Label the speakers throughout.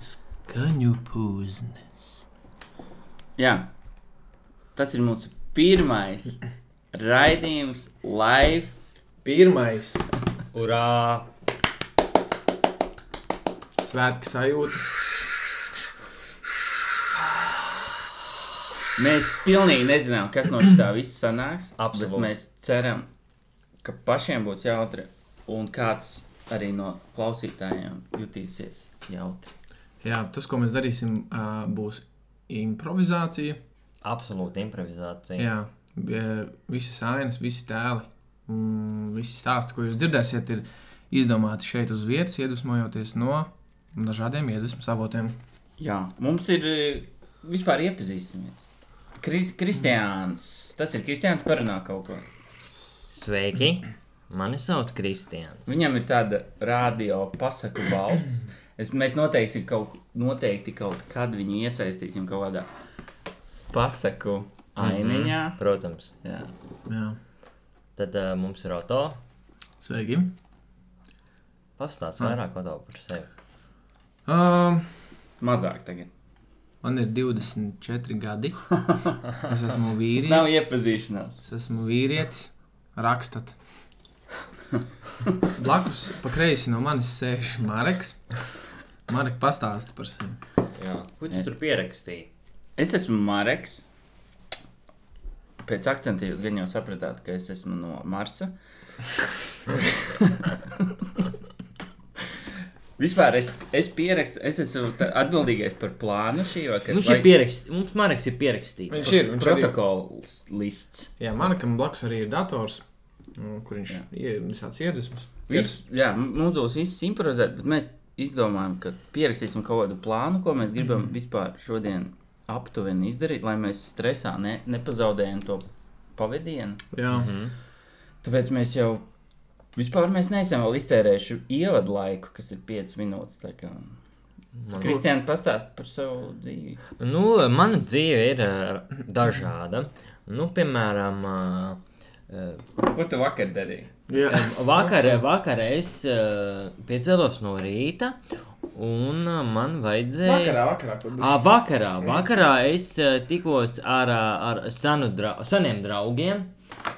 Speaker 1: Skaņu pūznes.
Speaker 2: Jā, tas ir mūsu pirmais raidījums live.
Speaker 1: Pirmais
Speaker 3: Urā!
Speaker 1: svētku sajūta.
Speaker 2: Mēs pilnīgi nezinām, kas no šī visa sanāks.
Speaker 3: Absolūti.
Speaker 2: bet Mēs ceram, ka pašiem būs jautri un kāds arī no klausītājiem jutīsies jautri.
Speaker 1: Jā, tas, ko mēs darīsim, ā, būs improvizācija.
Speaker 3: Absolūti improvizācija.
Speaker 1: Jā, vie- visas ainas, visi tēli, mm, visi stāsti, ko jūs dzirdēsiet, ir izdomāti šeit uz vietas, iedvesmojoties no dažādiem iedvesmas avotiem.
Speaker 2: Jā, mums ir e, vispār iepazīstināts. Kris, Kristiāns, tas ir Kristiāns, parunā kaut ko.
Speaker 3: Sveiki! Mani sauc Kristians.
Speaker 2: Viņam ir tāda radio pasaku balss. Es, mēs noteikti kaut, noteikti kaut kad viņu iesaistīsim kaut kādā pasaku ainiņā.
Speaker 1: Mhm.
Speaker 2: Mm
Speaker 3: Protams.
Speaker 2: -hmm. Jā,
Speaker 1: Jā.
Speaker 3: Tad uh, mums ir auto.
Speaker 1: Sveiki!
Speaker 3: Pastāst vairāk auto par sevi.
Speaker 1: Um,
Speaker 2: mazāk tagad.
Speaker 1: man ir 24 gadi. Es esmu
Speaker 2: Tas
Speaker 1: vīrietis.
Speaker 2: nav iepazīšanās.
Speaker 1: Es esmu vīrietis. Rakstat. Blakus, pa kreisi no manis sēž Marks. Marks pastāsta par sevi.
Speaker 3: Jā. Ko tu tur pierakstīji?
Speaker 2: Es esmu Marks. Pēc akcenta jūs gan jau sapratāt, ka es esmu no Marsa. Vispār es, es pierakstu, es esmu tā- atbildīgais par plānu šī vakara.
Speaker 1: Nu,
Speaker 3: Viņš
Speaker 2: vai-
Speaker 3: ir pierakstīts. Nu, Mums Marks ir pierakstīts.
Speaker 1: Viņš ir. Viņš arī,
Speaker 2: protokols lists.
Speaker 1: jā, Markam blakus arī ir dators, mm, kur viņš ir visāds iedvesmas.
Speaker 2: Viss, jā, m- mums būs viss improvizēt, bet mēs izdomājam, ka pierakstīsim kaut kādu plānu, ko mēs gribam vispār šodien aptuveni izdarīt, lai mēs stresā ne, nepazaudējam to pavadienu.
Speaker 1: Jā,
Speaker 2: Tāpēc mēs jau vispār mēs neesam vēl iztērējuši ievadu laiku, kas ir 5 minūtes. tā kā. Kristiāna pastāst par savu dzīvi.
Speaker 3: Nu, mana dzīve ir uh, dažāda. Nu, piemēram, uh, uh,
Speaker 2: Ko tu vakar darīji?
Speaker 1: jā.
Speaker 3: Vakar, vakar es uh, piecēlos no rīta, un uh, man vajadzēja.
Speaker 1: Vakarā, vakarā, kad
Speaker 3: À, vakarā, vakarā es uh, tikos ar, uh, ar senu dra seniem draugiem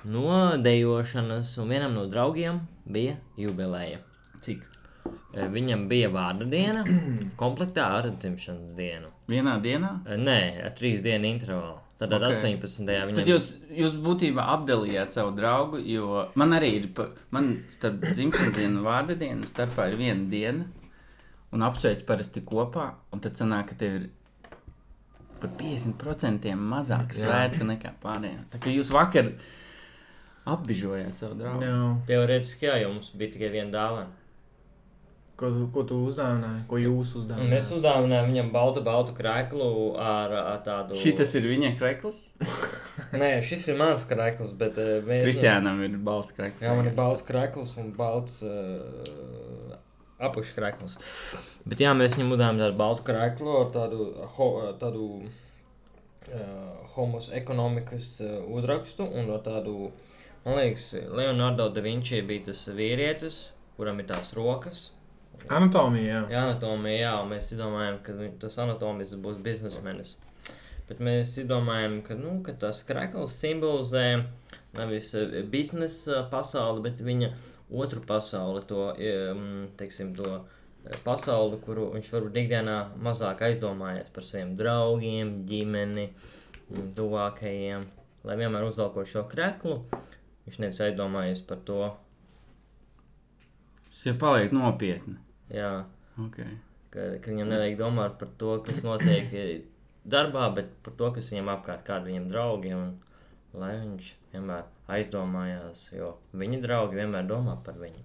Speaker 3: no dēlošanas, un vienam no draugiem bija jubileja.
Speaker 2: Cik?
Speaker 3: Eh, Viņam bija vārda diena, komplektā ar dzimšanas dienu.
Speaker 2: Vienā dienā?
Speaker 3: Eh, Nē, ar trīs dienu intervālu. Tātad
Speaker 2: Ok.
Speaker 3: 18.
Speaker 2: Tad
Speaker 3: viņam
Speaker 2: jūs, jūs būtībā apdalījāt savu draugu, jo man arī ir, pa- man starp dzimšanas dienu un vārda dienu starpā ir viena diena, un apsveic parasti kopā, un tad sanāk, ka tev ir par 50% mazāk svētku nekā pārējiem. Tā kā jūs vakar apbižojāt savu draugu.
Speaker 1: Jā.
Speaker 3: teorētiski jā, jo mums bija tikai viena dāvana.
Speaker 1: Ko, tu- ko tu uzdāvināji? Ko jūs
Speaker 3: Un Mēs
Speaker 1: uzdāvinājāt?
Speaker 3: uzdāvinājām viņam baldu, baldu krēslu ar, ar tādu.
Speaker 2: Šitas ir viņa krekls.
Speaker 3: Nē, šis ir mans krēsls, bet uh, mēs.
Speaker 2: Kristiānam ir balts krekls.
Speaker 3: Jā, man ir balts krēsls un balts uh, apakškrēsls. Bet jā, mēs viņam uzdāvinājām tādu baltu krēslu ar tādu, ho, tādu uh, homos ekonomikas uh, uzrakstu un ar tādu, man liekas, Leonardo da Vinčī bija tas vīrietis, kuram ir tās rokas.
Speaker 1: Anatomija, jā.
Speaker 3: Jā, anatomija, nu, jā, un mēs domājam, ka vi- tas anatomijas būs biznesmenis. Bet mēs domājam, ka, nu, ka tas krāklis simbolizē nevis eh, biznesa pasauli, bet viņa otru pasauli, to, eh, mm, teiksim, to eh, pasauli, kuru viņš varbūt ikdienā mazāk aizdomājas par saviem draugiem, ģimeni, mm, tuvākajiem. Lai vienmēr uzvelkot šo krāklu, viņš nevis aizdomājas par to.
Speaker 2: Šis jau paliek nopietni.
Speaker 3: Jā.
Speaker 2: Okay.
Speaker 3: ka, ka viņam nevajag domāt par to, kas notiek eh, darbā, bet par to, kas viņam apkārt, kādi viņam draugi. Un, lai viņš vienmēr aizdomājās, jo viņa draugi vienmēr domā par viņu.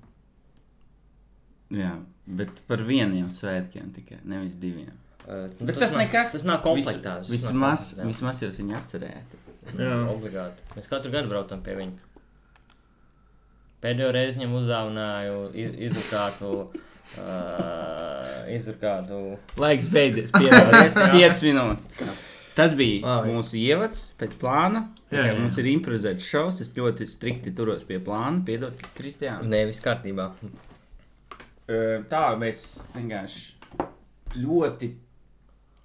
Speaker 2: Jā, bet par vieniem svētkiem tikai, nevis diviem.
Speaker 3: Uh,
Speaker 2: Bet tas nekas,
Speaker 3: tas nav komplektā. tas nav
Speaker 2: Vismaz,
Speaker 3: komplektā.
Speaker 2: vismaz jūs viņu atcerējāt.
Speaker 1: Jā.
Speaker 3: Obligāti. Mēs katru gadu braucam pie viņa. Pēdējo reizi viņam uzdāvināju iz- izdrukātu. Uh, izdrukātu.
Speaker 2: Laiks beidzies. Piedodies,
Speaker 3: Jā.
Speaker 2: 5 minūtes. Tas bija
Speaker 1: Labi.
Speaker 2: mūsu ievads pēc plāna.
Speaker 1: Jā,
Speaker 2: Jā, jā.
Speaker 1: jā.
Speaker 2: Mums ir improvizēts šovs. Es ļoti strikti turos pie plāna. Piedod, Kristiāna.
Speaker 3: Nē, viss kārtībā.
Speaker 2: Ö, Tā mēs vienkārši ļoti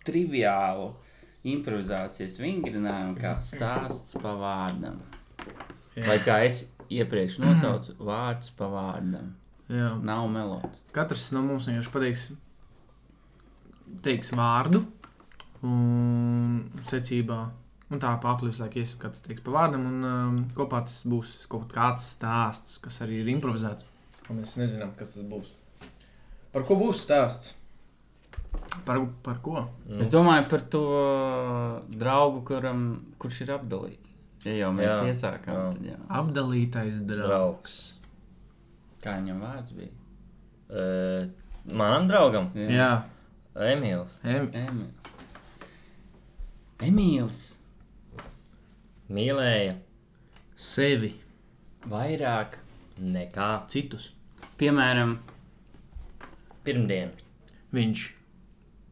Speaker 2: triviālu improvizācijas vingrinājumu, kā stāsts pa vārdam.
Speaker 1: Jā.
Speaker 2: Vai kā es iepriekš nosaucu, vārds pa vārdam.
Speaker 1: Jā.
Speaker 2: Nav melots.
Speaker 1: Katrs no mums vienkārši pateiks, teiks vārdu un secībā. Un tā papildus, iesim, kāds teiks pa vārdam, un um, kopā tas būs kaut kāds stāsts, kas arī ir improvizēts. Un Mēs nezinām, kas tas būs. Par ko būs stāsts? Par, par ko?
Speaker 2: Es domāju par to uh, draugu, kuram, kurš ir apdalīts. Ja jau mēs jā,
Speaker 3: Jā.
Speaker 2: iesākām, jā.
Speaker 3: Jā.
Speaker 2: tad jā.
Speaker 1: Apdalītais draugs.
Speaker 3: Draugs.
Speaker 2: Kā viņam vārds bija?
Speaker 3: Uh, man draugam,
Speaker 1: Jā,
Speaker 3: Emīls.
Speaker 1: em,
Speaker 2: Emīls. Emīls
Speaker 3: Mīlēja
Speaker 1: sevi,
Speaker 2: vairāk,
Speaker 3: nekā
Speaker 1: citus.
Speaker 2: piemēram,
Speaker 3: pirmdien.
Speaker 1: Viņš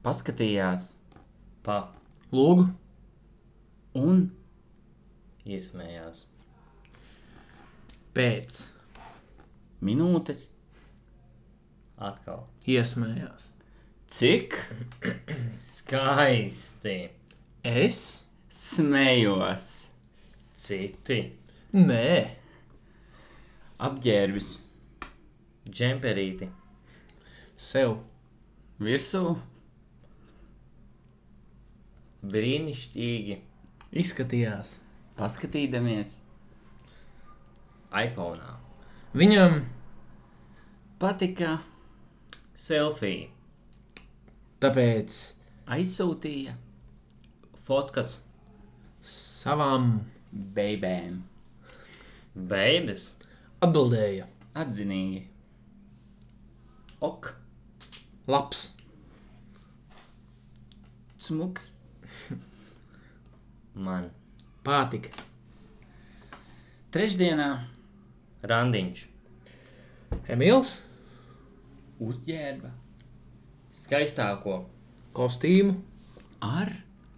Speaker 2: paskatījās
Speaker 3: Pa
Speaker 1: lūgu,
Speaker 2: un
Speaker 3: iesmējās.
Speaker 1: pēc
Speaker 2: minūtes,
Speaker 3: Atkal.
Speaker 1: iesmējās.
Speaker 2: cik
Speaker 3: Skaisti.
Speaker 1: Es?
Speaker 2: smējos,
Speaker 3: Citi.
Speaker 1: Nē.
Speaker 2: apģērbis
Speaker 3: Džemperīti.
Speaker 1: Sev
Speaker 2: virsū,
Speaker 3: Brīnišķīgi.
Speaker 1: izskatījās.
Speaker 2: paskatīdamies
Speaker 3: iPhone.
Speaker 1: Viņam
Speaker 2: patika,
Speaker 3: Selfija.
Speaker 1: tāpēc
Speaker 2: aizsūtīja
Speaker 3: Fotkas.
Speaker 1: savām
Speaker 2: bērniem.
Speaker 3: Beigas.
Speaker 1: atbildēja.
Speaker 2: Atzinīgi. Ok,
Speaker 1: Labs,
Speaker 2: smuks,
Speaker 3: Man.
Speaker 1: patika.
Speaker 2: trešdienā
Speaker 3: Randiņš.
Speaker 1: Emīls,
Speaker 2: uzģērba
Speaker 3: Skaistāko.
Speaker 1: kostīmu,
Speaker 2: ar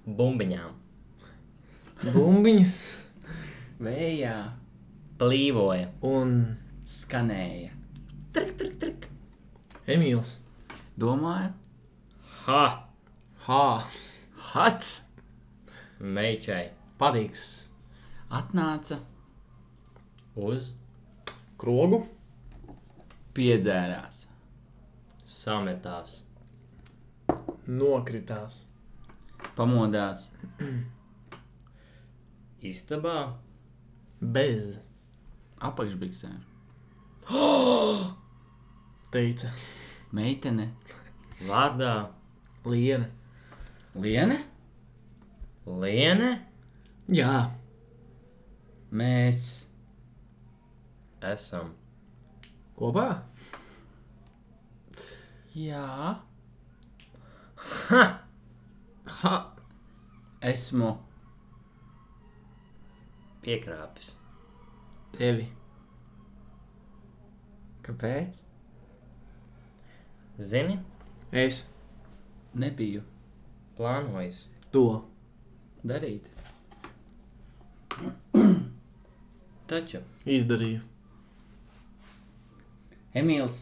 Speaker 3: Bumbiņām.
Speaker 1: bumbiņas
Speaker 2: vējā
Speaker 3: Plīvoja.
Speaker 1: un
Speaker 2: skanēja. Trik, trik, trik.
Speaker 1: Emīls.
Speaker 2: Domāju,
Speaker 3: Ha!
Speaker 1: Hā,
Speaker 2: hats
Speaker 3: Meičai.
Speaker 1: patiks.
Speaker 2: atnāca
Speaker 3: Uz
Speaker 1: Krogu,
Speaker 2: piedzērās.
Speaker 3: sametās.
Speaker 1: nokritās.
Speaker 2: Pamodās
Speaker 3: Istabā.
Speaker 1: Bez,
Speaker 2: apakšbiksēm.
Speaker 1: teica
Speaker 2: Meitene,
Speaker 3: Vadā.
Speaker 1: Liena.
Speaker 2: Liene,
Speaker 3: Liene.
Speaker 1: Jā,
Speaker 2: mēs
Speaker 3: Esam.
Speaker 1: kopā.
Speaker 2: jā,
Speaker 3: Ha!
Speaker 1: Ha,
Speaker 2: esmu
Speaker 3: Piekrāpis.
Speaker 1: tevi.
Speaker 2: kāpēc?
Speaker 3: Zini?
Speaker 1: Es
Speaker 2: Nebiju
Speaker 3: Plānojis.
Speaker 1: to
Speaker 2: darīt.
Speaker 3: Taču
Speaker 1: izdarīju.
Speaker 2: Emīls,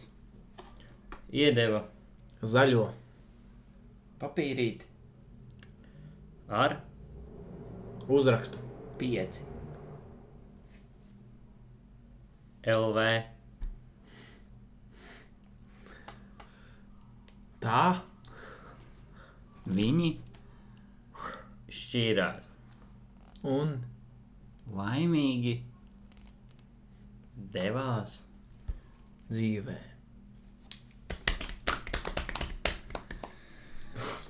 Speaker 3: iedeva
Speaker 1: Zaļo,
Speaker 2: papīrīt,
Speaker 3: ar
Speaker 1: uzrakstu,
Speaker 2: pieci.
Speaker 3: LV
Speaker 1: tā,
Speaker 2: Viņi
Speaker 3: šķīrās.
Speaker 1: un
Speaker 2: laimīgi
Speaker 3: Devās.
Speaker 1: dzīvē.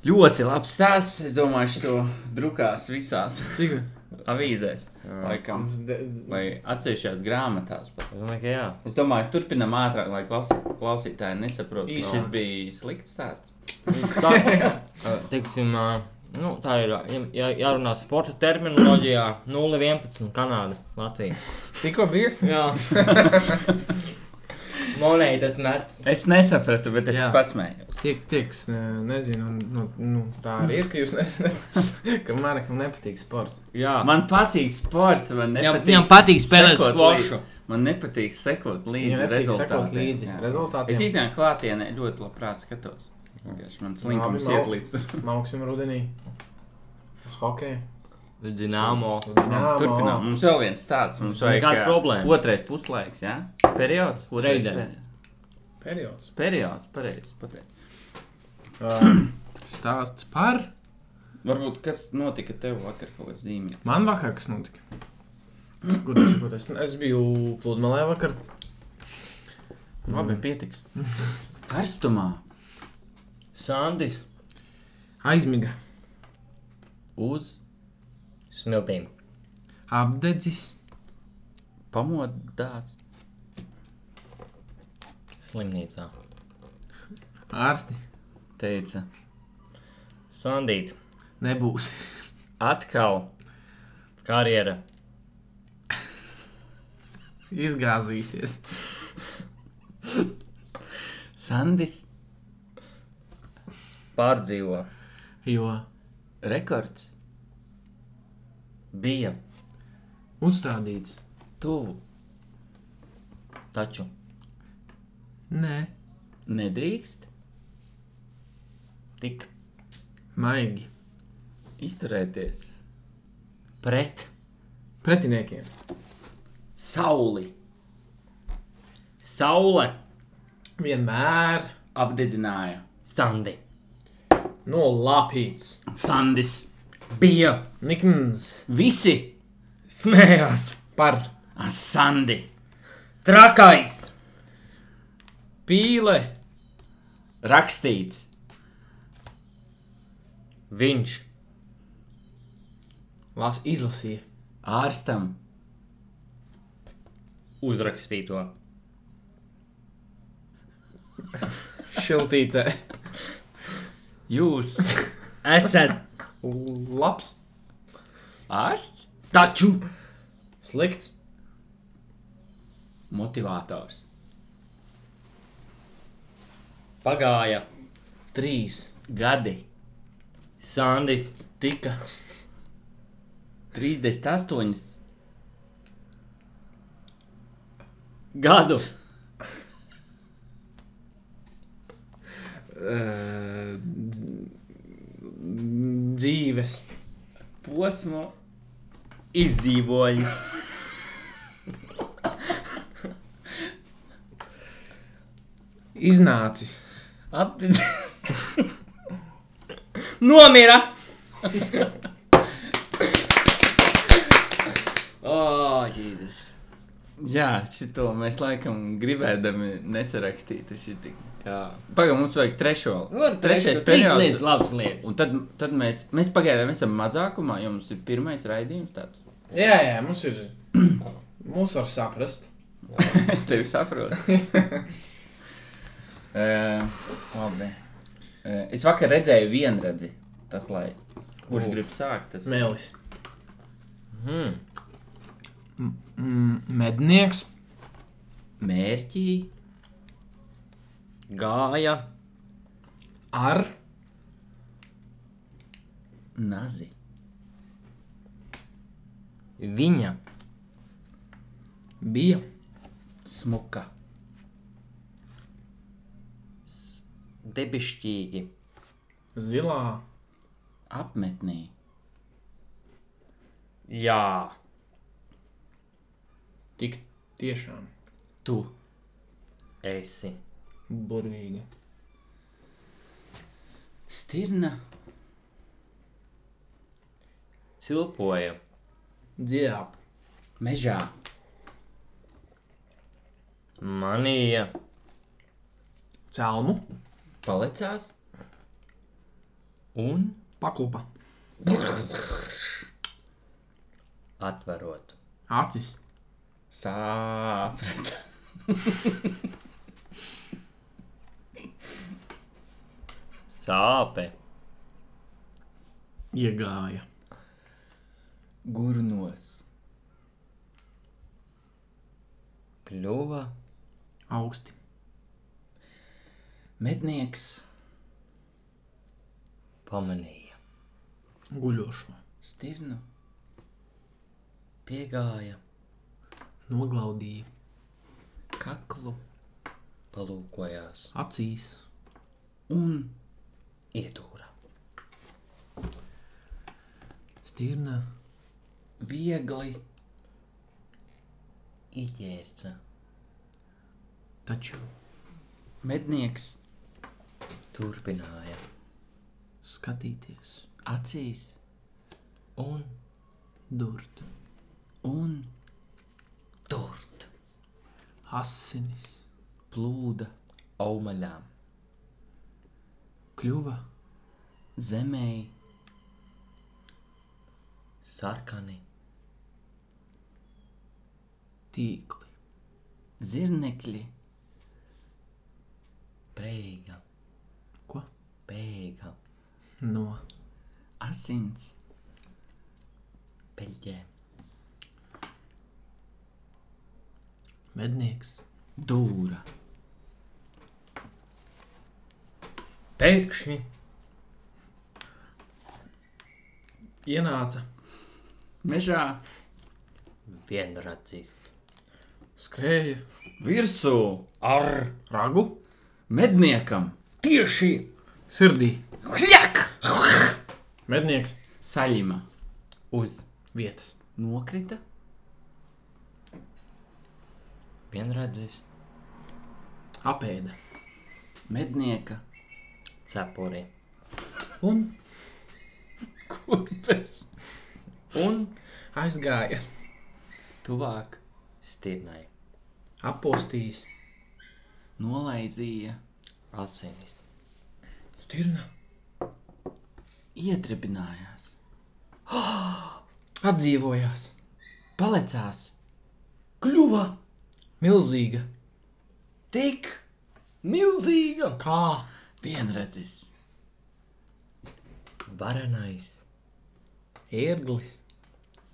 Speaker 2: Ļoti labs stāsts. Es domāju, ka to drukās visās
Speaker 1: Cik?
Speaker 2: avīzēs, laikam, vai atsevišķās grāmatās. pat.
Speaker 3: Es domāju, ka jā.
Speaker 2: Es domāju, turpinām ātrāk, lai klausī- klausītāji nesaprotu, ka
Speaker 1: Īsi.
Speaker 2: šis bija slikts stāsts.
Speaker 3: Tā, teiksim, ā, Nu, tā ir. ja- Ja, jārunā sporta terminoloģijā, 0,11 Kanāda, Latvija.
Speaker 1: Tikko bija?
Speaker 3: Jā, monēta tas mērķis.
Speaker 2: Es nesapratu, bet es
Speaker 1: Jā.
Speaker 2: pasmēju.
Speaker 1: Tiek, tieks, ne- nezinu, un, nu, nu, tā arī ir, ka jūs nezināt, ka man nekam nepatīk sports.
Speaker 3: Jā,
Speaker 2: Man patīk sports, man
Speaker 3: Viņam-
Speaker 2: nepatīk.
Speaker 3: viņam patīk spēlēt
Speaker 2: sekot
Speaker 3: skvošu.
Speaker 2: līdzi. Man nepatīk sekot
Speaker 1: Viņam
Speaker 2: līdzi
Speaker 1: nepatīk sekot
Speaker 2: rezultātiem.
Speaker 1: līdzi
Speaker 2: Jā.
Speaker 1: rezultātiem.
Speaker 2: Es īstenībā klātienē ļoti labprāt skatos. Vienkārši man
Speaker 1: Labi,
Speaker 2: slinkums
Speaker 1: Mau.
Speaker 2: iet līdz tur.
Speaker 1: Mauksim rudenī. Uz hokeju.
Speaker 3: Dīnāmo.
Speaker 1: Uz Dinamo.
Speaker 2: Turpinām. Mums vēl viens stāsts. Mums vajag
Speaker 3: Nekāda
Speaker 2: ā,
Speaker 3: problēma.
Speaker 2: Otrais puslaiks, jā? Periods? Otrais
Speaker 3: Reizē.
Speaker 2: peri-
Speaker 1: Periods.
Speaker 2: Periods, pareizi. pareizi.
Speaker 1: Um, Stāsts par.
Speaker 2: Varbūt kas notika tev vakar kaut kas zīmīgs?
Speaker 1: Man vakar kas notika? Gudīgi sakot, es, es biju pludmalē vakar.
Speaker 2: Labi, pietiks. Karstumā
Speaker 3: Sandis.
Speaker 1: Aizmiga.
Speaker 2: uz
Speaker 3: Smiltīm.
Speaker 1: Apdedzis.
Speaker 2: pamodās.
Speaker 3: Slimnīcā.
Speaker 1: Ārsti.
Speaker 2: Teica,
Speaker 3: Sandīt.
Speaker 1: Nebūs.
Speaker 3: Atkal. Karjera.
Speaker 1: Izgāzīsies.
Speaker 2: Sandis,
Speaker 3: Pārdzīvo.
Speaker 1: Jo
Speaker 2: rekords bija
Speaker 1: uzstādīts.
Speaker 2: tuvu.
Speaker 3: Taču.
Speaker 1: Nē,
Speaker 2: Nedrīkst tik
Speaker 1: maigi.
Speaker 2: izturēties
Speaker 3: Pret.
Speaker 1: Pretiniekiem.
Speaker 2: sauli
Speaker 3: Saule.
Speaker 1: Vienmēr
Speaker 2: apdedzināja.
Speaker 3: Sandi.
Speaker 1: nolapīts.
Speaker 2: Sandis,
Speaker 3: Bija.
Speaker 1: Nikns
Speaker 2: visi
Speaker 3: Smējās.
Speaker 1: par
Speaker 2: ar Sandi
Speaker 3: Trakais.
Speaker 1: pīle.
Speaker 2: rakstīts.
Speaker 3: Viņš.
Speaker 1: Lās izlasīja.
Speaker 2: Ārstam
Speaker 3: Uzrakstīto.
Speaker 1: Šiltītē.
Speaker 2: jūs
Speaker 3: Esat.
Speaker 1: Labs.
Speaker 2: ārsts,
Speaker 3: Taču.
Speaker 1: Slikts.
Speaker 2: motivators.
Speaker 3: Pagāja.
Speaker 1: Trīs.
Speaker 2: Gadi
Speaker 3: Sandis.
Speaker 1: Tika.
Speaker 2: 38
Speaker 3: Gadu.
Speaker 1: Uh, dzīves.
Speaker 2: posmu.
Speaker 3: Izdzīvoju.
Speaker 1: Iznācis.
Speaker 2: Aptid...
Speaker 3: Nomira! oh, Jēzus!
Speaker 2: Jā, šito mēs laikam gribēdami nesarakstītu. šiti.
Speaker 3: Jā,
Speaker 2: Pagaidām, mums vajag Nu, trešo.
Speaker 3: Nu, trešais
Speaker 2: Trešais
Speaker 3: periods.
Speaker 2: periods.
Speaker 3: Līdz labs lietas.
Speaker 2: Un tad, tad mēs, mēs pagaidām esam mazākumā, jo mums ir pirmais raidījums tāds.
Speaker 1: Jā, jā, mums ir. Mums var saprast.
Speaker 2: es tevi saprotu. uh, labi. Uh, es vakar redzēju vienredzi. Tas, lai kurš
Speaker 1: U.
Speaker 2: grib sākt, tas
Speaker 1: Mēlis.
Speaker 3: Hmm.
Speaker 1: Mm, mednieks.
Speaker 2: mērķī
Speaker 3: Gāja
Speaker 1: Ar.
Speaker 2: nazi.
Speaker 3: viņa
Speaker 1: Bija.
Speaker 2: Smuka.
Speaker 3: debišķīgi
Speaker 1: Zilā.
Speaker 2: Apmetnī.
Speaker 3: Jā,
Speaker 1: Tik tiešām.
Speaker 2: Tu
Speaker 3: esi
Speaker 1: Burvīgi.
Speaker 2: stirna
Speaker 3: cilpoja
Speaker 1: Dziļā.
Speaker 2: mežā.
Speaker 3: manīja
Speaker 1: Celmu.
Speaker 2: Palicās
Speaker 3: un
Speaker 1: Paklupa.
Speaker 3: atverot.
Speaker 1: Acis.
Speaker 2: sāpēt.
Speaker 3: Sāpe
Speaker 1: Iegāja.
Speaker 2: Gurnos. Kļuva
Speaker 1: Augsti.
Speaker 2: mednieks. Pamanīja
Speaker 1: Guļošo.
Speaker 2: stirnu. Piegāja
Speaker 1: Noglaudīja.
Speaker 2: kaklu. Palūkojās
Speaker 1: Acīs.
Speaker 2: un ietūra.
Speaker 1: Stirna.
Speaker 2: Viegli ieķērca.
Speaker 1: Taču
Speaker 2: Mednieks turpināja
Speaker 1: skatīties.
Speaker 2: acīs un,
Speaker 1: Durt.
Speaker 2: un turt
Speaker 1: Asinis.
Speaker 2: plūda augaļām,
Speaker 1: Kļuva.
Speaker 2: zemē sarkani
Speaker 1: Tīkli.
Speaker 2: zirnekļi, pēga,
Speaker 1: Ko?
Speaker 2: pēga,
Speaker 1: No.
Speaker 2: asins, peļķē,
Speaker 1: Mednieks.
Speaker 2: dūra,
Speaker 3: Pēkšņi
Speaker 1: Ienāca.
Speaker 2: mežā,
Speaker 3: vienracis.
Speaker 1: Skrēja.
Speaker 2: virsū
Speaker 3: Ar
Speaker 1: Ragu.
Speaker 2: medniekam,
Speaker 3: tieši
Speaker 1: Sirdī.
Speaker 3: hļak!
Speaker 1: Mednieks.
Speaker 2: saļima uz
Speaker 1: Vietas.
Speaker 2: nokrita. Vienredzis
Speaker 1: Apēda.
Speaker 2: mednieka
Speaker 3: Cepuri.
Speaker 1: Un
Speaker 2: kurpes
Speaker 3: Un
Speaker 1: aizgāja.
Speaker 2: tuvāk
Speaker 3: stirnai.
Speaker 1: Apostījis.
Speaker 2: nolaizīja,
Speaker 3: Asinis.
Speaker 1: Stirna.
Speaker 2: ietribinājās,
Speaker 1: Atdzīvojās.
Speaker 2: palicās, kļuva
Speaker 1: Milzīga.
Speaker 2: tik milzīga.
Speaker 1: Kā?
Speaker 2: Vienredzis
Speaker 3: Varanais
Speaker 1: Ērglis.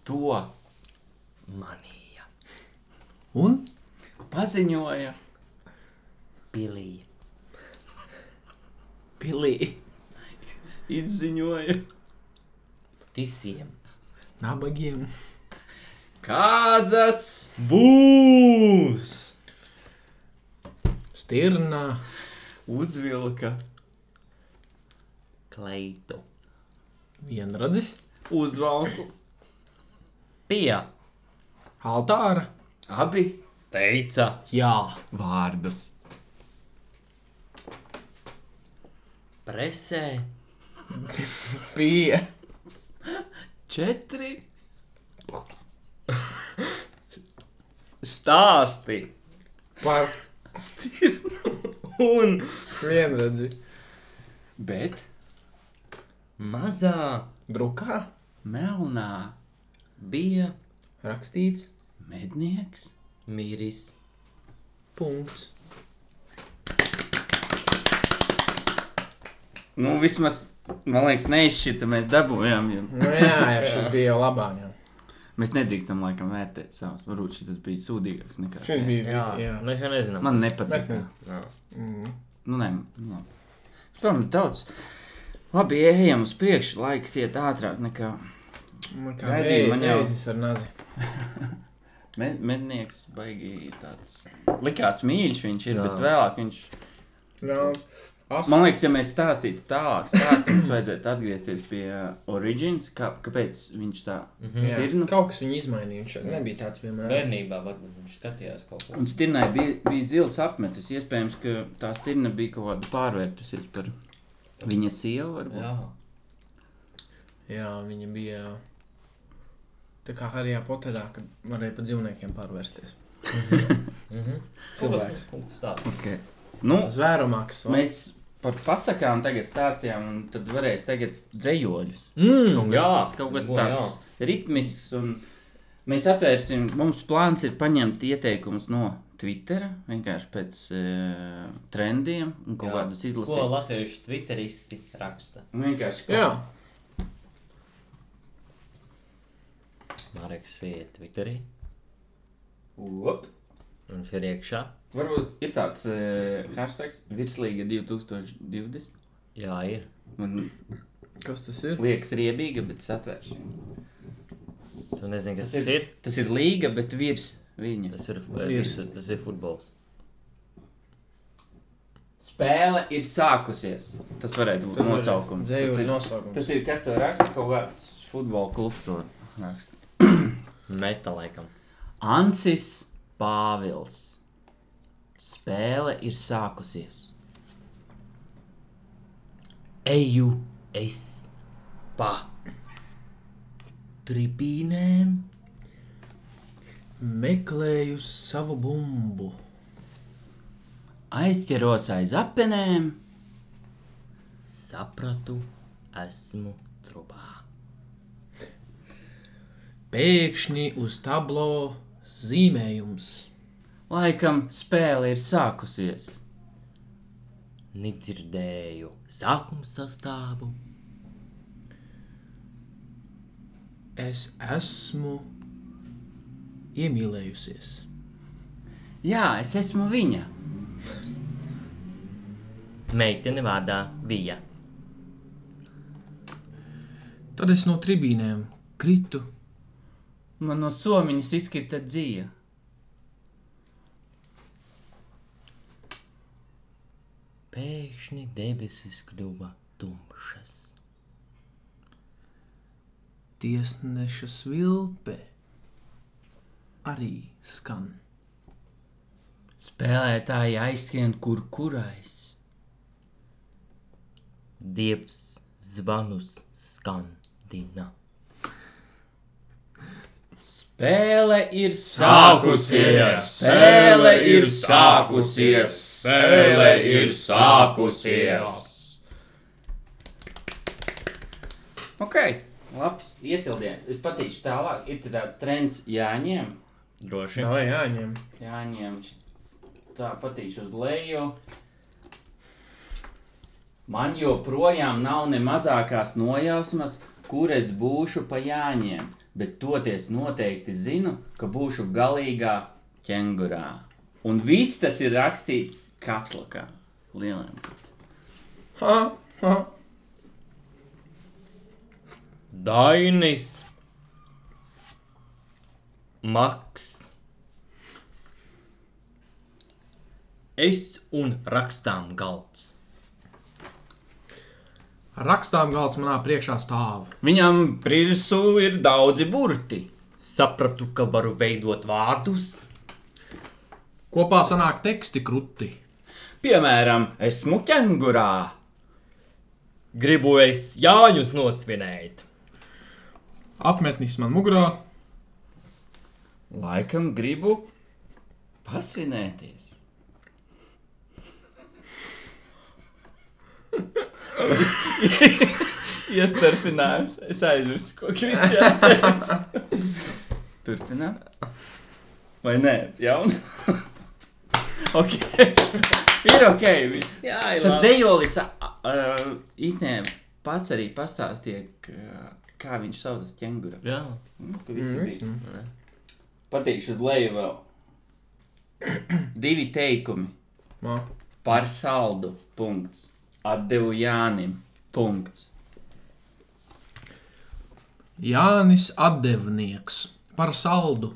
Speaker 2: to
Speaker 3: manīja.
Speaker 1: Un
Speaker 2: paziņoja
Speaker 3: Pilīja.
Speaker 2: pilī. Izziņoja,
Speaker 3: Visiem.
Speaker 1: nabagiem.
Speaker 2: kādas
Speaker 3: Būs!
Speaker 1: Stirnā.
Speaker 2: uzvilka,
Speaker 3: Kleitu.
Speaker 1: Vienradzis.
Speaker 2: uzvalku.
Speaker 3: Pie.
Speaker 1: Altāra.
Speaker 2: Abi
Speaker 3: Teica.
Speaker 1: Jā.
Speaker 2: vārdus.
Speaker 3: Presē.
Speaker 1: Pie.
Speaker 2: Četri
Speaker 3: Stāsti.
Speaker 1: Par
Speaker 3: Un
Speaker 1: vienradzi.
Speaker 2: Bet
Speaker 3: mazā
Speaker 1: Drukā.
Speaker 2: melnā
Speaker 3: bija
Speaker 1: Rakstīts.
Speaker 2: mednieks
Speaker 3: miris.
Speaker 1: Punkts.
Speaker 2: nu, vismaz, man liekas, neizšķita mēs dabūjām. Jo.
Speaker 1: Nu, jā, jā, šis bija jau labāk. Jā.
Speaker 2: Mēs nedrīkstam laikam vērtēt savus. Varbūt šis bija sūdīgāks nekā
Speaker 1: Šis bija vīti, jā.
Speaker 3: Mēs jau nezinām.
Speaker 2: Man
Speaker 1: Mēs
Speaker 2: nepatīk.
Speaker 1: ne-
Speaker 3: Jā.
Speaker 1: Mm.
Speaker 2: Nu, nē, nu, labi. Protams, daudz. Labi, ejam uz priekšu. Laiks iet ātrāk nekā
Speaker 1: Mm. Man kā
Speaker 2: Gaidīju, man
Speaker 1: reizes
Speaker 2: jau-
Speaker 1: reizes ar nazi.
Speaker 2: med mednieks. Baigi tāds. Likās mīļš viņš ir, Jā.
Speaker 3: Jā.
Speaker 2: bet vēlāk viņš.
Speaker 1: Rauns. As.
Speaker 2: Man liekas, ja mēs stāstītu tālāk, tad mums vajadzētu atgriezties pie uh, origins, kā, kāpēc viņš tā
Speaker 1: Jā,
Speaker 2: stirna.
Speaker 1: Kaut kas viņa izmainīja. Viņš nebija tāds vienmēr.
Speaker 3: Bērnībā varbūt viņš skatījās kaut ko.
Speaker 2: Un stirnai bija, bija zils apmetis. Iespējams, ka tā stirna bija kaut kāda pārvērtusies par viņa sievu. varbūt.
Speaker 3: Jā.
Speaker 1: Jā, viņa bija. Tā kā Harijā Poterā, kad varēja pa dzīvniekiem pārvērsties.
Speaker 3: Mhm.
Speaker 1: Cilvēks.
Speaker 3: Kaut kas tāds.
Speaker 2: Okay. Nu,
Speaker 1: Zvērumāks.
Speaker 2: mēs par pasakām tagad stāstījām, un tad varēs tagad dzējoļus.
Speaker 1: Mm,
Speaker 2: Kaut kas- kaut kas
Speaker 3: Bo,
Speaker 2: tāds ritmisks. un Mēs atvērsim, mums plāns ir paņemt ieteikumus no Twittera, vienkārši pēc uh, trendiem un kaut
Speaker 3: Jā.
Speaker 2: kādus
Speaker 3: Ko
Speaker 2: izlasīt.
Speaker 3: latviešu twitteristi raksta?
Speaker 2: Un Vienkārši
Speaker 1: jā,
Speaker 3: Marks iet Twitterī,
Speaker 2: Op.
Speaker 3: un viņš ir iekšā.
Speaker 2: Varbūt ir tāds uh, hashtag, virslīga 2020.
Speaker 3: Jā, ir.
Speaker 2: Man
Speaker 1: Kas tas ir?
Speaker 2: liekas, riebīga, bet satvēršana.
Speaker 3: Tu nezini, kas tas ir?
Speaker 2: Tas ir līga, bet virs viņa.
Speaker 3: Tas ir,
Speaker 1: Virs.
Speaker 3: tas, tas ir futbols.
Speaker 2: Spēle ir sākusies. Tas varētu būt tas nosaukums.
Speaker 1: Dzēju
Speaker 2: tas, ir,
Speaker 1: nosaukums.
Speaker 2: tas ir kas to raksta? Kaut kāds futbola klubs to raksta.
Speaker 3: Meta laikam.
Speaker 2: Ansis Pāvils. Spēle ir sākusies.
Speaker 3: Eju es pa tribīnēm.
Speaker 1: Meklēju savu bumbu.
Speaker 2: Aizķeros aiz apenēm.
Speaker 3: Sapratu, esmu trubā.
Speaker 1: Pēkšņi uz tablo zīmējums.
Speaker 2: Laikam spēle ir sākusies.
Speaker 3: Nedzirdēju sākuma sastāvu.
Speaker 1: Es esmu iemīlējusies.
Speaker 2: Jā, es esmu viņa.
Speaker 3: Meitene vārdā bija.
Speaker 1: Tad es no tribīnēm kritu.
Speaker 2: Man no somiņas izkrita dzīve.
Speaker 3: Pēkšņi debesis kļuva tumšas.
Speaker 1: Tiesneša svilpe arī skan.
Speaker 2: Spēlētāji aizskrien kur kurais.
Speaker 3: Dievs zvanus skandina.
Speaker 2: Spēle ir
Speaker 4: Sākusies! Spēle ir sākusies! Spēle ir sākusies!
Speaker 2: Ok, labi. Iesildījums. Es patīšu tālāk. Ir te tāds trends jāņem.
Speaker 3: Droši.
Speaker 1: Jā, jāņem.
Speaker 2: Jāņem. Tā patīšu uz leju. Man joprojām nav ne mazākās nojausmas, kur es būšu pa jāņem. Bet toties noteikti zinu, ka būšu galīgā ķengurā. Un viss tas ir rakstīts kapslokā. Lieliem.
Speaker 1: Ha, ha.
Speaker 3: Dainis. Maks. Es un rakstām galds.
Speaker 1: Ar rakstām galds manā priekšā stāv.
Speaker 3: Viņam prirsū ir daudzi burti. Sapratu, ka varu veidot vārdus.
Speaker 1: Kopā sanāk teksti kruti.
Speaker 2: Piemēram, esmu ķengurā.
Speaker 3: Gribu es Jāņus nosvinēt.
Speaker 1: Apmetnis man mugurā.
Speaker 2: Laikam gribu pasvinēties. Iestarpinājums. Es aizmirsu, ko Kristians teica. Turpinām. Vai nē, jaunu? ok. Ir ok.
Speaker 3: Jā,
Speaker 2: Tas dejolis ā, ā, īstenībā pats arī pastāstīja, ka- kā viņš saucas ķengura.
Speaker 3: Jā,
Speaker 2: Nu, ka visi bija. Patīšu uz leju vēl. Divi teikumi
Speaker 1: Ma.
Speaker 2: par saldu. Punkts. Atdevu Jānim. Punkts.
Speaker 1: Jānis Atdevnieks par saldu.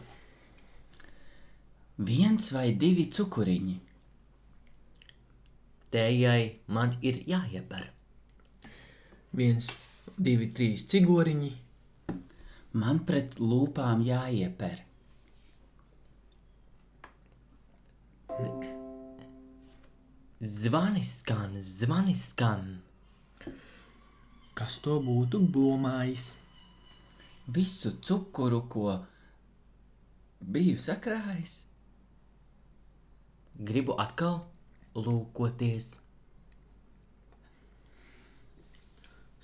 Speaker 2: Viens vai divi cukuriņi.
Speaker 3: tējai man ir jāieber.
Speaker 1: Viens, divi, trīs cigoriņi.
Speaker 2: Man pret lūpām jāieper.
Speaker 3: Zvanis skan, zvanis skan.
Speaker 1: Kas to būtu domājis?
Speaker 2: Visu cukuru, ko biju sakrājis.
Speaker 3: Gribu atkal lūkoties.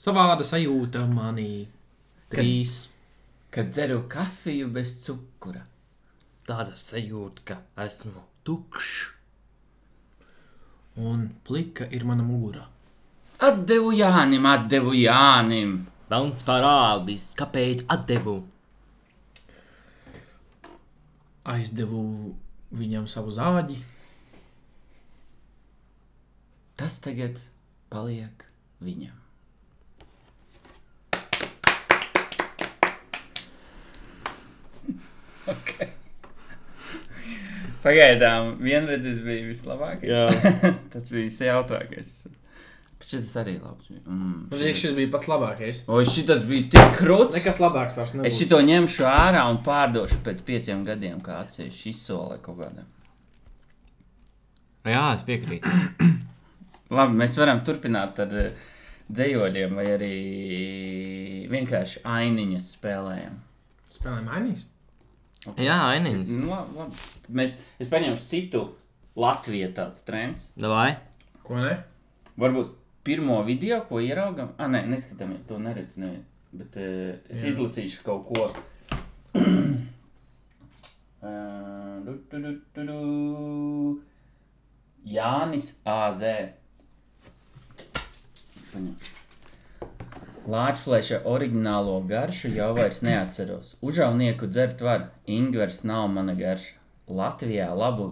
Speaker 1: Savāda sajūta manī. Trīs.
Speaker 2: Kad dzeru kafiju bez cukura,
Speaker 3: Tāda sajūta, ka esmu tukšs.
Speaker 1: Un plika ir mana mugura.
Speaker 2: atdevu Jānim, atdevu Jānim.
Speaker 3: Velns parādīs, kāpēc atdevu.
Speaker 1: aizdevu viņam savu zāģi.
Speaker 2: Tas tagad paliek viņam. Pagaidām, vienreiz bija vislabākais.
Speaker 5: Jā.
Speaker 2: tas bija visjautrākais. Bet šis arī labs bija
Speaker 1: Man
Speaker 2: labs.
Speaker 1: liekas, šis bija pats labākais.
Speaker 2: O, šitas bija tik krūts.
Speaker 1: Nekas labāks vairs nebija.
Speaker 2: Es šito ņemšu ārā un pārdošu pēc pieciem gadiem, kā atsevišķi izsole kaut kādā.
Speaker 5: Jā, es piekrītu.
Speaker 2: Labi, mēs varam turpināt ar eh, dzējoļiem vai arī vienkārši ainiņas spēlējam.
Speaker 1: spēlēju mainīs.
Speaker 5: Jā, ainīgs.
Speaker 2: Nu, labi, labi. Tad Mēs, es paņemšu citu Latviju tādu trendu.
Speaker 5: Davai.
Speaker 1: Ko ne?
Speaker 2: Varbūt pirmo video, ko ieraugam, ah, nē, neskatāmies, to neredz. Ne. Bet uh, es Jā.
Speaker 1: Jā.
Speaker 2: izlasīšu kaut ko. Ā, du, du, du, du, du. Jānis AZ. Paņem. Lāčfleša oriģinālo garšu jau vairs neatceros. Užaunieku dzert var, Ingūns nav mana garša. Latvijā labu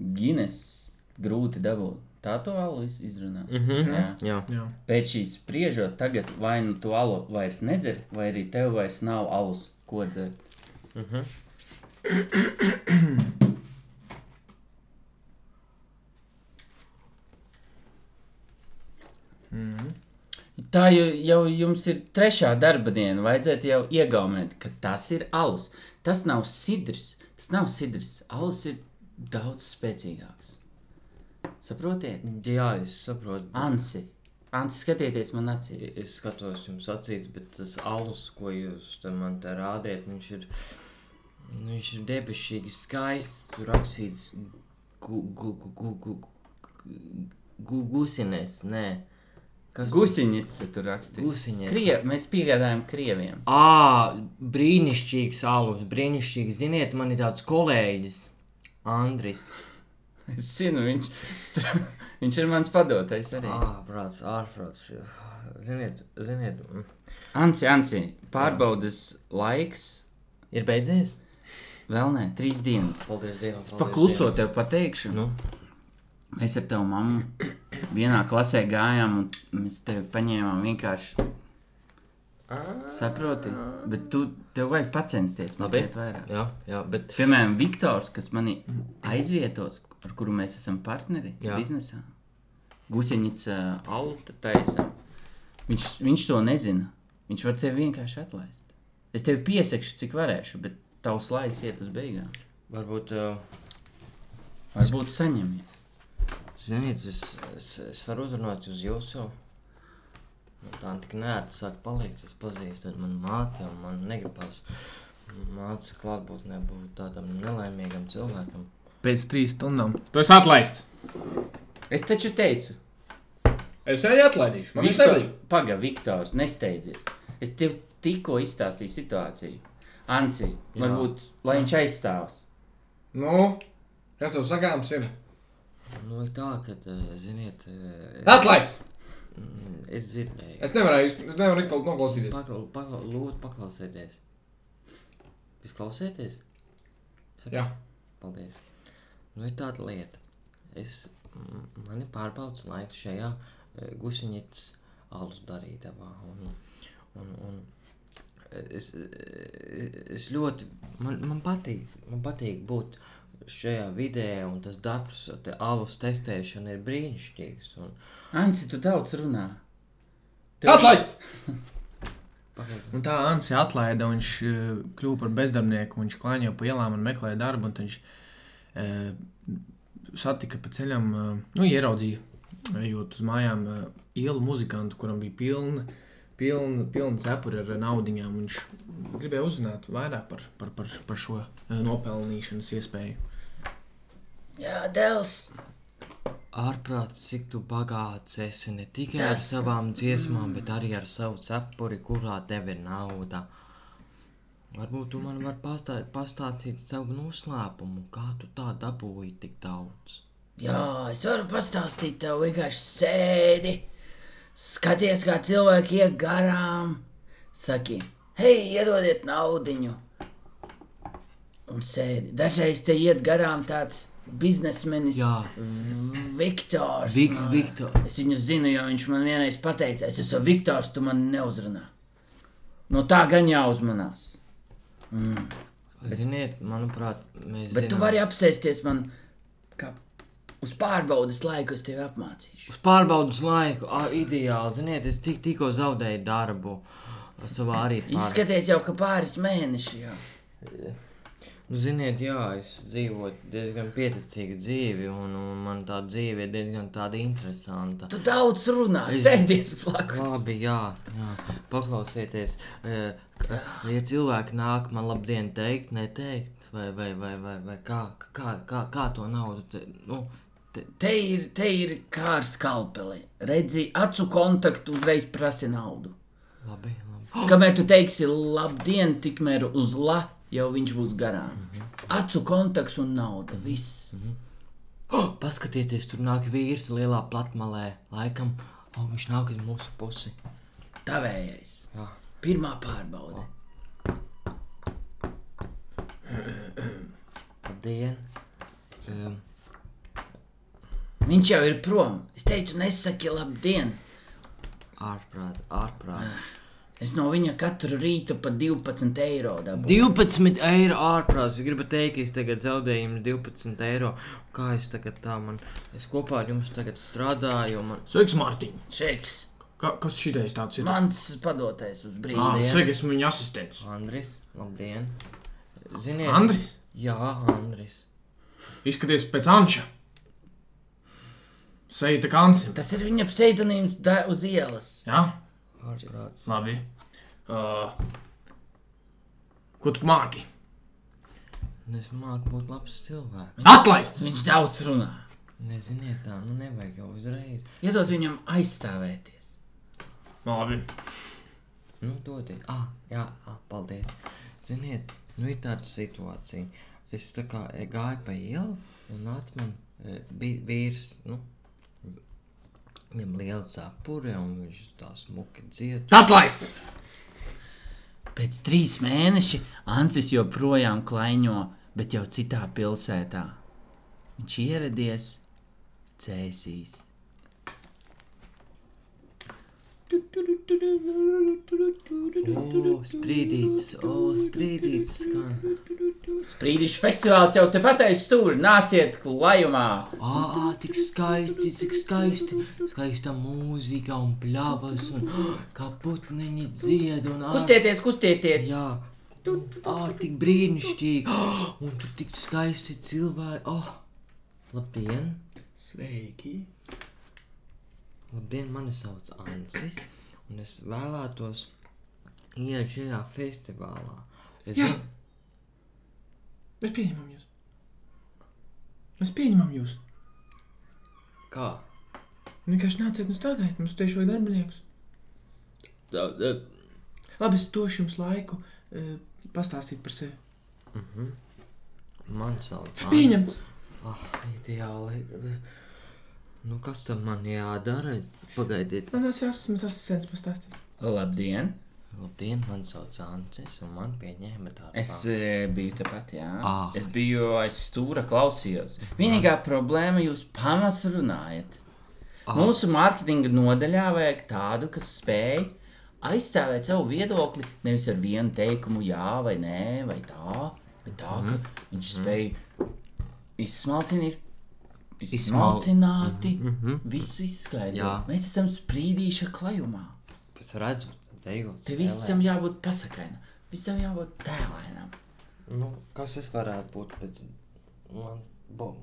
Speaker 2: Guinness grūti dabūt. Tā to alu iz- izrunā.
Speaker 5: Mhm.
Speaker 2: Jā.
Speaker 5: Jā.
Speaker 1: Jā.
Speaker 2: Nu, Pēc šīs spriežot, tagad vai nu tu alu vairs nedzer, vai arī tev vairs nav alus, ko dzert.
Speaker 5: Mhm.
Speaker 2: Tā jau, jau jums ir trešā darba diena. Vajadzētu jau iegaumēt, ka tas ir alus. Tas nav sidrs. Tas nav sidrs. Alus ir daudz spēcīgāks. Saprotiet?
Speaker 3: Jā, es saprotu. bet
Speaker 2: Ansi, Ansi skatieties man acīs.
Speaker 3: Es skatos jums acīs, bet tas alus, ko jūs te man te rādījat, viņš ir. nu, Viņš ir debesīgi skaists, tur rakstīts gu- gu- gu- gu- gu- gu- gu- gusinēs, nē. Kas
Speaker 2: Gusiņice tur rakstīja.
Speaker 3: Gusiņies.
Speaker 2: Kriev, mēs piegādājam krieviem.
Speaker 3: Ā, brīnišķīgs alus, brīnišķīgs. Ziniet, man ir tāds kolēģis, Andris.
Speaker 2: Es zinu, viņš, strā- viņš ir mans padotais arī.
Speaker 3: Ārprāts, ārprāts. Ziniet, ziniet, mm,
Speaker 2: Ansi, Ansi, pārbaudas laiks
Speaker 3: ir beidzies?
Speaker 2: vēl nē, trīs dienas.
Speaker 3: Paldies Dievam. paldies
Speaker 2: Pakluso tev pateikšu.
Speaker 3: Nu?
Speaker 2: Mēs ar tavu mammu vienā klasē gājām, un mēs tevi paņēmām vienkārši. Saproti, bet tu tev vajag censties mazliet vairāk.
Speaker 5: Jā, jā, bet
Speaker 2: Piemēram, Viktors, kas mani aizvietos, ar kuru mēs esam partneri Jā.
Speaker 5: Jā.
Speaker 2: biznesā. Guseņģis auta taisa. Viņš, viņš to nezina. Viņš var tevi vienkārši atlaist. Es tevi piesakšu, cik varēšu, bet tavs laiks iet uz beigām.
Speaker 3: Varbūt, uh,
Speaker 2: Varbūt saņemies.
Speaker 3: ziniet, es, es, es varu uzrunāt uz jūsu. Nu, Tā tik nē, tas sāk palikt. Es pazīstu ar manu māti, un man negribas māca klātbūtnē būt tādam nelaimīgam cilvēkam.
Speaker 1: Pēc trīs stundām. Tu esi atlaists.
Speaker 2: Es taču teicu,
Speaker 1: Es arī atlaidīšu. Man viņš
Speaker 2: Viktor...
Speaker 1: nebija.
Speaker 2: pagaidi, Viktors, nesteidzies. Es tev tikko izstāstīju situāciju. Anci, varbūt, lai viņš aizstāvs.
Speaker 1: Nu, kas tev sakāms ir?
Speaker 3: Nu, ir tā, ka, uh, ziniet, uh,
Speaker 1: Atlaists!
Speaker 3: Mm, es dzirdēju.
Speaker 1: Es nevarēju, es nevaru ikal noklausīties.
Speaker 3: Pakla, pakla, lūdzu, paklausieties. Jūs klausieties? Saka,
Speaker 1: Jā.
Speaker 3: Paldies. Nu, ir tāda lieta. Es, m- man ir pārbaudas laiks šajā gusiņķis alus darītavā. Un, un, un es, e, es ļoti, man, man patīk, man patīk būt šajā vidē, un tas darbs, te alus testēšana ir brīnišķīgs. Un,
Speaker 2: Anci, tu daudz runā.
Speaker 1: Atlaists!
Speaker 3: pagaidz,
Speaker 1: Un tā Ansi atlaida, un viņš eh, kļuva par bezdarbnieku. Viņš klāņoja pa ielām un meklēja darbu. Un tad viņš e, satika pa ceļam, e, nu, ieraudzīja, ejot uz mājām, e, ielu muzikantu, kuram bija pilna, pilna, pilna cepura ar naudiņām. Viņš gribēja uzzināt vairāk par, par, par, š- par šo e, nopelnīšanas iespēju.
Speaker 2: Jā, Dēls.
Speaker 3: Ārprāts, cik tu bagāts esi ne tikai ar savām dziesmām, bet arī ar savu cepuri, kurā tev ir nauda. Varbūt tu man vari pastā, pastāstīt savu noslēpumu, kā tu tā dabūji tik daudz.
Speaker 2: Jā, es varu pastāstīt tev, vienkārši sēdi, skaties, kā cilvēki iet garām. Saki, hei, iedodiet naudu!
Speaker 6: un sēdi. Dažreiz te iet garām tāds biznesmenis,
Speaker 2: Jā.
Speaker 6: V- Viktors.
Speaker 2: Vik-
Speaker 6: no-
Speaker 2: Viktor.
Speaker 6: Es viņu zinu, jo viņš man vienreiz pateica, es esmu Viktors, tu man neuzrunā. No tā gan jāuzmanās. Mm.
Speaker 3: Ziniet, manuprāt, mēs.
Speaker 6: Bet tu vari apsēsties man kā uz pārbaudas laiku, es tevi apmācīšu.
Speaker 3: uz pārbaudas laiku. A, ideāli, ziniet, es tik, tikko zaudēju darbu savā arī.
Speaker 6: Izskaties jau, ka pāris mēneši jau.
Speaker 3: Nu, ziniet, jā, es dzīvoju diezgan pieticīgu dzīvi, un, un man tā dzīve ir diezgan tāda interesanta.
Speaker 6: Tu daudz runā,
Speaker 3: Es-
Speaker 6: sēdies blakus.
Speaker 3: Labi, jā, jā. paklausieties, eh, k- ja cilvēki nāk man labdien teikt, neteikt, vai, vai, vai, vai, vai kā, kā, kā, kā to naudu, te, nu,
Speaker 6: Te ir, te ir kā ar skalpeli. Redzi, acu kontaktu uzreiz prasa naudu.
Speaker 3: labi, labi.
Speaker 6: Kamēr tu teiksi labdien, tikmēr uz la, jau viņš būs garām.
Speaker 3: Mhm.
Speaker 6: Acu kontakts un nauda. Viss.
Speaker 3: Oh, paskatieties, tur nāk vīrs lielā platmalē, laikam, oh, viņš nāk uz mūsu pusi.
Speaker 6: Tavējais.
Speaker 3: Jā.
Speaker 6: Pirmā pārbaude.
Speaker 3: Labdien! Um,
Speaker 6: Viņš jau ir prom. Es teicu, nesaki labdien.
Speaker 3: ārprāt, ārprāt.
Speaker 6: Es no viņa katru rītu pa 12 eiro dabūju.
Speaker 3: 12 eiro ārprāts. Jūs gribat teikt, ka es tagad zaudēju jums 12 eiro. Kā jūs tagad tā man? Es kopā ar jums tagad strādāju. un Man...
Speaker 1: Sveiks, Mārtiņ!
Speaker 6: Čeks.
Speaker 1: Ka, kas šitais tāds ir?
Speaker 6: Mans padotais uz
Speaker 1: Ah,
Speaker 6: brīdi.
Speaker 1: Sveiki, esmu viņa asistents.
Speaker 3: Andris, labdien! Ziniet,
Speaker 1: Andris,
Speaker 3: Jā, Andris.
Speaker 1: izskaties pēc Anča. Seita kā Ansim.
Speaker 6: Tas ir viņa pseidonīms da- uz ielas.
Speaker 1: Jā,
Speaker 3: Ārprāts.
Speaker 1: labi. Uh, ko tu māki?
Speaker 3: Un Nu, Es māku būt labs cilvēks.
Speaker 1: Atlaists!
Speaker 6: Viņš daudz runā.
Speaker 3: Neziniet, tā nu nevajag jau uzreiz.
Speaker 6: Iedod viņam aizstāvēties.
Speaker 1: Labi.
Speaker 3: Nu, doties. Ah, jā, ah, paldies. Ziniet, nu ir tāda situācija. Es tā kā e, gāju pa ielu, un nāca man e, bi- vīrs, nu, viņam liela cepure, un viņš tā smuki dzied.
Speaker 1: Atlaists!
Speaker 6: Pēc trīs mēnešiem Ansis joprojām klaiņo, bet jau citā pilsētā. Viņš ieradies cēsīs.
Speaker 3: O, sprīdītis, o, sprīdītis skan.
Speaker 6: Sprīdīšu festivāls jau tepat aiz stūra. Nāciet klajumā!
Speaker 1: Ah.
Speaker 3: Ā, ā, tik skaisti, cik skaisti. Skaista mūzika un pļavas, un kā putniņi dzied, un ā,
Speaker 6: Kustieties, kustieties!
Speaker 3: Jā, ah, tik brīnišķīgi. Ah, Un tur tik skaisti cilvēki. Oh, labdien!
Speaker 2: Sveiki!
Speaker 3: Labdien, mani sauc Ansis. Un es vēlētos iet šajā festivālā. Es
Speaker 1: Jā.
Speaker 3: zinu,
Speaker 1: Mēs pieņemam jūs. Mēs pieņemam jūs. Nu,
Speaker 3: kā.
Speaker 1: Vienkārši nāciet un strādājiet, mums tieši vajag darbiniekus.
Speaker 5: Tā, tā,
Speaker 1: Labi, es došu jums laiku e, pastāstīt par sevi.
Speaker 3: Man sauc Ansis.
Speaker 1: Pieņemts!
Speaker 3: Ah, ideāli. Nu, kas tam man jādara? Pagaidiet.
Speaker 1: Nē, es esmu Nu, tas asistents pastāstīt.
Speaker 2: Labdien!
Speaker 3: Labdien, man sauc Ansis, un man pieņēma tādu.
Speaker 2: Es e, biju tepat, jā.
Speaker 3: Ah.
Speaker 2: Es biju aiz stūra klausījos. Vienīgā problēma ir, jūs pamats runājat.
Speaker 3: Ah.
Speaker 2: Mūsu mārketinga nodaļā vajag tādu, kas spēj aizstāvēt savu viedokli nevis ar vienu teikumu, jā, vai nē, vai tā, bet tā,
Speaker 3: Mhm.
Speaker 2: ka viņš spēj izsmalcināt,
Speaker 3: Izsmal-
Speaker 2: izsmalcināti
Speaker 3: Mhm.
Speaker 2: visu izskaidrot.
Speaker 3: Jā.
Speaker 2: Mēs esam sprīdīša klajumā.
Speaker 3: Es redzu, teikot,
Speaker 2: Te visam jābūt pasakainam, visam jābūt tēlainam.
Speaker 3: Nu, kas es varētu būt pēc man bo-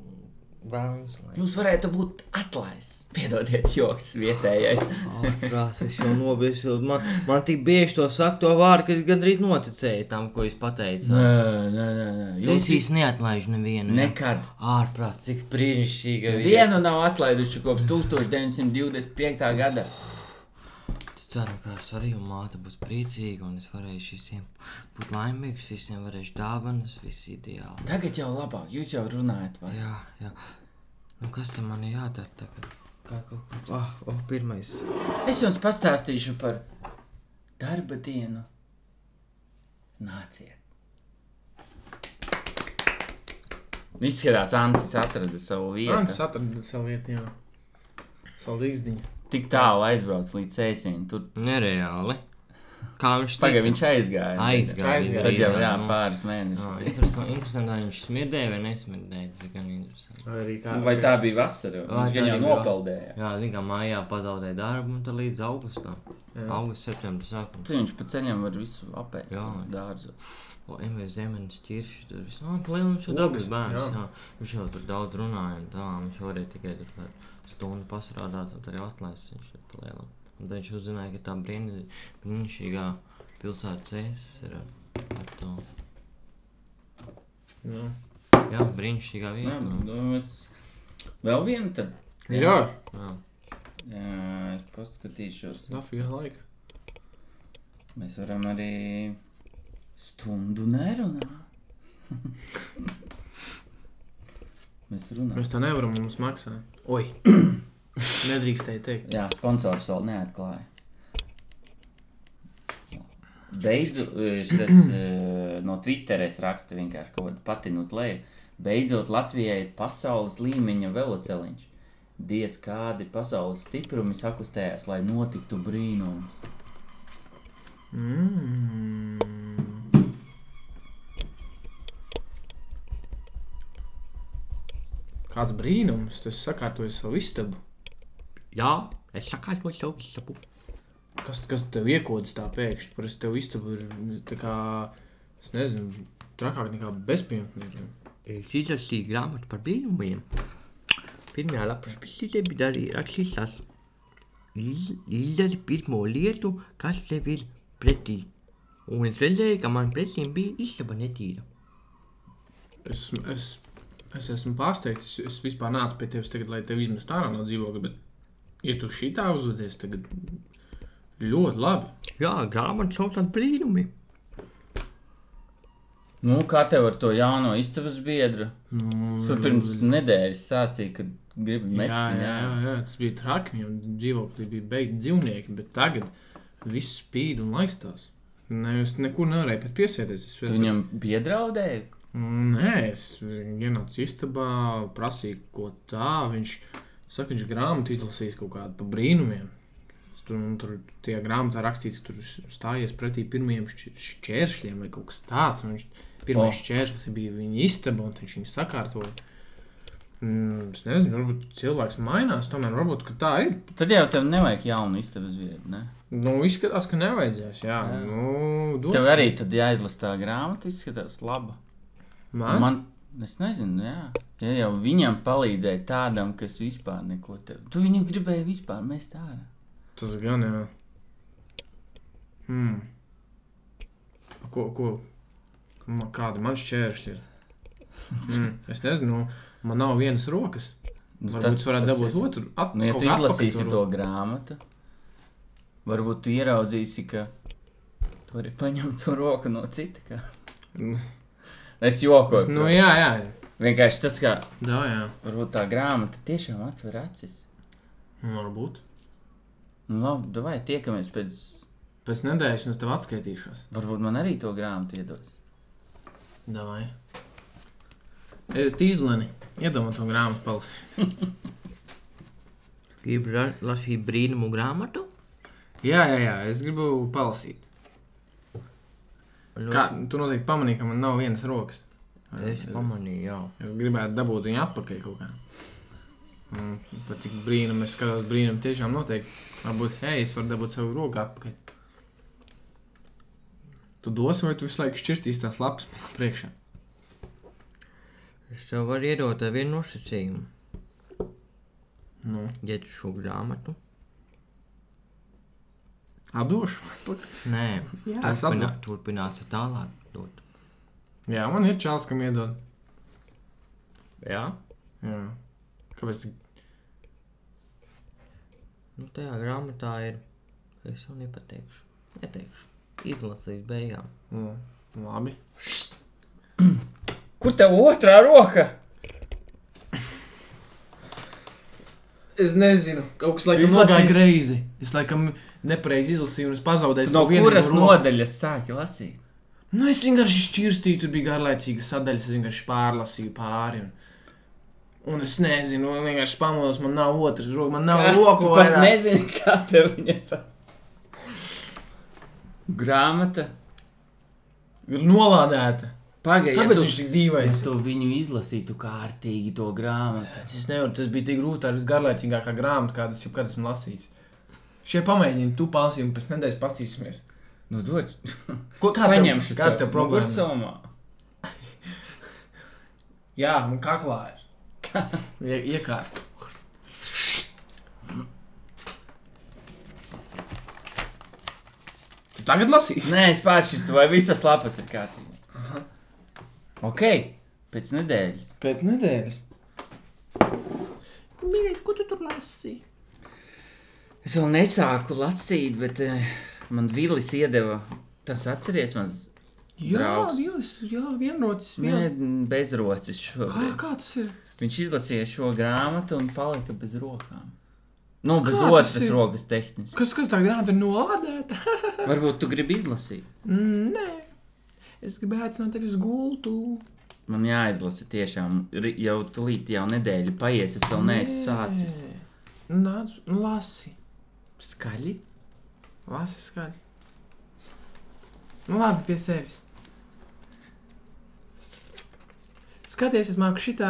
Speaker 3: bērns? lai-
Speaker 2: Jūs varētu būt atlaists. Piedodiet, joks vietējais.
Speaker 3: Ārprāts, es jau nobijušos. Man, man tik bieži to saka, to vārdu, ka es gandrīz noticēju tam, ko jūs
Speaker 2: Nē,
Speaker 3: pateicāt.
Speaker 2: nē, nē, nē.
Speaker 3: Jūs
Speaker 2: Jūs
Speaker 3: īsti neatlaižat
Speaker 2: nu,
Speaker 3: nevienu. ja?
Speaker 2: nekad.
Speaker 3: Ārprāts, cik brīnišķīga
Speaker 2: Vienu nav atlaiduši kopš 1925. gada.
Speaker 3: Es ceru, ka es arī un māte būs priecīga, un es varēšu visiem būt laimīgs, visiem varēšu dāvanas, viss ideāli.
Speaker 2: Tagad jau labāk, jūs jau runājat, vai ne?
Speaker 3: Jā, jā. Nu, kas tam man ir jādara tagad? Kā kaut kas? Ah, oh, pirmais.
Speaker 2: Es jums pastāstīšu par darba dienu. Nāciet! Izskatās, Ansis atrada savu vietu.
Speaker 1: Ants atrada savu vietu, jā. Savu līgzdiņu.
Speaker 2: Tik tālu aizbrauc līdz ceļiem. Tur
Speaker 3: Nereāli. Kā viņš
Speaker 2: pagaidā viņš aizgāja.
Speaker 3: aizgāja.
Speaker 1: Aizgāja.
Speaker 2: Tad jau
Speaker 3: drīz,
Speaker 2: jā,
Speaker 3: nu.
Speaker 2: pāris mēnešus.
Speaker 3: Interesanti, interesanti, vai viņš smirdēja vai nesmirdēja. Tas ir gan interesanti.
Speaker 1: Vai arī kā.
Speaker 7: Vai tā bija vasara?
Speaker 3: Vai
Speaker 7: Viņš
Speaker 3: tā
Speaker 7: jau
Speaker 3: bija
Speaker 7: nopaldēja.
Speaker 3: Jā, zina, kā mājā pazaudēja darbu un tad līdz augustam. Augusts, septembris sākums.
Speaker 2: Tur Nu, viņš pa ceļiem var visu apēst. Jā,
Speaker 3: Jā.
Speaker 2: dārzu.
Speaker 3: O, Emīļa Zemenes ķirši, tur viss no plēnām jau
Speaker 1: Logas,
Speaker 3: dabas
Speaker 1: jā.
Speaker 3: bērns. Jā. Viņš jau tur daudz runāja un tā, viņš varēja tikai tur par stundu pasrādāt, un tad arī atlaists viņš ir plēnām. Un tad viņš uzzināja, ka tā brīni- brīnišķīgā pilsēta cēsis ir ar to.
Speaker 1: Jā.
Speaker 3: Jā, brīnišķīgā
Speaker 2: Jā,
Speaker 3: vieta.
Speaker 2: nu, es- Vēl viena tad.
Speaker 1: Jā,
Speaker 3: Jā.
Speaker 2: Jā, es paskatīšos.
Speaker 1: nafīga laika.
Speaker 2: Mēs varam arī stundu nerunāt. Mēs runājam.
Speaker 1: Mēs tā nevaram, mums maksā. Oi. Nedrīkstēji teikt.
Speaker 2: Jā, sponsors vēl neatklāja. Beidzot, eh, šis eh, no Twitter es rakstu vienkārši kaut kādu patinu uz leju. Beidzot, Latvijai ir pasaules līmeņa velosipēdiņš. Diez kādi pasaules stiprumi sakustējās, lai notiktu brīnums.
Speaker 1: Mm. Kāds brīnums, tu esi sakārtojis savu istabu.
Speaker 3: Jā, es sakārtoju savu sapu.
Speaker 1: Kas, kas tev iekodas tā pēkšņi? Parasti tev istaba ir tā kā, es nezinu, trakāk nekā bezpajumtniekiem.
Speaker 3: Es izlasīju grāmatu par brīnumiem. Pirmajā lapas pusē bija arī rakstīts, tas iz- izdari pirmo lietu, kas tev ir pretī. Un es redzēju, ka man pretī bija istaba netīra.
Speaker 1: Es, es, es esmu pārsteigts, es, es vispār nācu pie tevis tagad, lai tevi izmestu ārā no dzīvokļa, bet, ja tu šitā uzvedies tagad, ļoti labi.
Speaker 3: Jā, grāmata saucās brīnumi.
Speaker 2: Nu, kā tev ar to jauno istabas biedru?
Speaker 1: Nu,
Speaker 2: Tu pirms nedēļas stāstīji, ka gribi mest
Speaker 1: Jā,
Speaker 2: viņu.
Speaker 1: jā, jā, jā, tas bija traki. Viņam dzīvoklī bija beigti dzīvnieki, bet tagad viss spīd un laikstās. Nē, es nekur nevarēju pat piesieties. Es
Speaker 2: Tu viņam piedraudēji?
Speaker 1: Mm, Nē, es ienācu istabā, prasīju, ko tā. Viņš saka, viņš grāmatu izlasīs kaut kādu par brīnumiem. Es Tur, un tur tajā grāmatā rakstīts, ka tur stājies pretī pirmajiem šķi- šķēršļiem vai kaut kas tāds. un Viņš, pirmais oh. šķērslis bija viņa istaba, un viņš viņu sakārtoja. Mm, Es nezinu, varbūt cilvēks mainās, tomēr varbūt ka tā ir.
Speaker 2: Tad jau tev nevajag jaunu istabas vietu, ne?
Speaker 1: Nu, izskatās, ka nevajadzēs. Jā, jā. Nu, dos.
Speaker 2: Tev arī tad jāizlasa tā grāmata, izskatās laba.
Speaker 1: Man? Man...
Speaker 2: Man, es nezinu, jā. Ja jau viņam palīdzēja tādam, kas vispār neko te... Tu viņu gribēji vispār mest ārā.
Speaker 1: Tas gan, jā. Hmm. Ko, ko? Man, kādi man šķēršļi ir? Mm, es nezinu, man nav vienas rokas.
Speaker 2: Nu,
Speaker 1: Varbūt tas varētu dabūt
Speaker 2: ir-
Speaker 1: otru. At,
Speaker 2: Nu, ja
Speaker 1: kaut
Speaker 2: tu
Speaker 1: kā atpakaļ
Speaker 2: izlasīsi
Speaker 1: roku.
Speaker 2: to grāmatu, varbūt tu ieraudzīsi, ka tu vari paņemt to roku no cita. Kā.
Speaker 1: Mm.
Speaker 2: Es jokoju.
Speaker 1: Es, nu, jā, jā.
Speaker 2: Vienkārši tas, kā
Speaker 1: Tā, jā.
Speaker 2: varbūt tā grāmata tiešām atver acis.
Speaker 1: Nu, Varbūt.
Speaker 2: Nu, labi, davai, tiekamies pēc...
Speaker 1: Pēc nedēļas un es tev atskaitīšos.
Speaker 2: Varbūt man arī to grāmatu iedos.
Speaker 1: Davai. E, Tīzleni, iedomā to grāmatu palsi.
Speaker 3: Gribu ra- lasīt brīnumu grāmatu.
Speaker 1: Jā, jā, jā, es gribu palasīt. Kā, tu noteikti pamanīji, ka man nav vienas rokas.
Speaker 3: Es pamanīju, jā.
Speaker 1: Es gribētu dabūt viņu atpakaļ kaut kā. Un, pat cik brīnum es skatos, brīnum tiešām notiek. Varbūt, hei, es varu dabūt savu roku atpakaļ. Tu dosi vai tu visu laiku šķirstīs tās lapas priekšā?
Speaker 3: Es tev varu iedot ar vienu nosacījumu.
Speaker 1: Nu,
Speaker 3: Ja tu šo grāmatu.
Speaker 1: atdošu. atpakaļ.
Speaker 3: Nē,
Speaker 1: Jā, es
Speaker 3: turpinā,
Speaker 1: atdodu.
Speaker 3: turpināsi tālāk. Dot.
Speaker 1: Jā, man ir čels, kam iedod.
Speaker 3: Jā,
Speaker 1: Jā. Kāpēc? tik-
Speaker 3: nu tajā grāmatā ir. Es jau nepateikšu. Neteikšu. Izlasīs beigām.
Speaker 1: Nu, labi.
Speaker 2: Kur tev otrā roka?
Speaker 1: Es nezinu, kaut kas laikam nogāja greizi. Es laikam nepareizi izlasīju un es pazaudēju
Speaker 2: No
Speaker 1: savu vienīgo
Speaker 2: kuras
Speaker 1: roku.
Speaker 2: nodaļas sāki lasīt?
Speaker 1: Nu, es vienkārši šķirstīju, tur bija garlaicīga sadaļa, es vienkārši pārlasīju pāri. Un... Un es nezinu, un vienkārši pamodos, man nav otras rokas, man nav roku.
Speaker 8: Pat
Speaker 1: vairāk.
Speaker 8: nezinu, kā tev viņa tā. Grāmata.
Speaker 1: Ir nolādēta.
Speaker 8: Pagaidi,
Speaker 1: Kāpēc
Speaker 8: ja
Speaker 1: viņš
Speaker 8: tu,
Speaker 1: tik dīvains?
Speaker 8: ja tu viņu izlasītu kārtīgi to grāmatu.
Speaker 1: Es nevaru, tas bija tik grūti ar visgarlaicīgākā grāmatu, kādu es jebkad esmu lasījis. Šie pamēģinājumi, tu palsīji, un pēc nedēļas paskatīsimies.
Speaker 8: Nu, dod.
Speaker 1: Ko kā
Speaker 8: Paņemšu.
Speaker 1: Kāda tev problēma?
Speaker 8: Kursomā.
Speaker 1: Jā, man kaklā ir. Ie- Iekārts. Tu tagad lasīsi?
Speaker 8: Nē, es pāršķirstu, vai visas lapas ir kārtīgi. Ok, pēc nedēļas.
Speaker 1: Pēc nedēļas.
Speaker 8: Es vēl nesāku lasīt, bet eh, man Vilis iedeva. Tas atceries man
Speaker 1: Jā,
Speaker 8: Draugs.
Speaker 1: viens, jā, vienrocis. viens.
Speaker 8: bezrocis
Speaker 1: Kā,
Speaker 8: šobrīd.
Speaker 1: kā tas ir?
Speaker 8: Viņš izlasīja šo grāmatu un palika bez rokām. Nu, bez
Speaker 1: Kā tas
Speaker 8: otras
Speaker 1: ir?
Speaker 8: rokas tehniski.
Speaker 1: Kas, kas tā grāmata ir nolādēta?
Speaker 8: Varbūt tu gribi izlasīt.
Speaker 1: Nē, es gribēju aicināt tevi uz gultu.
Speaker 8: Man jāizlasa tiešām ri- jau tūlīt, jau nedēļa paies. Es vēl neesmu sācis.
Speaker 1: Nāc, nu, lasi,
Speaker 8: Skaļi.
Speaker 1: lasi skaļi. Nu, labi, pie sevis. Skaties, es māku šitā.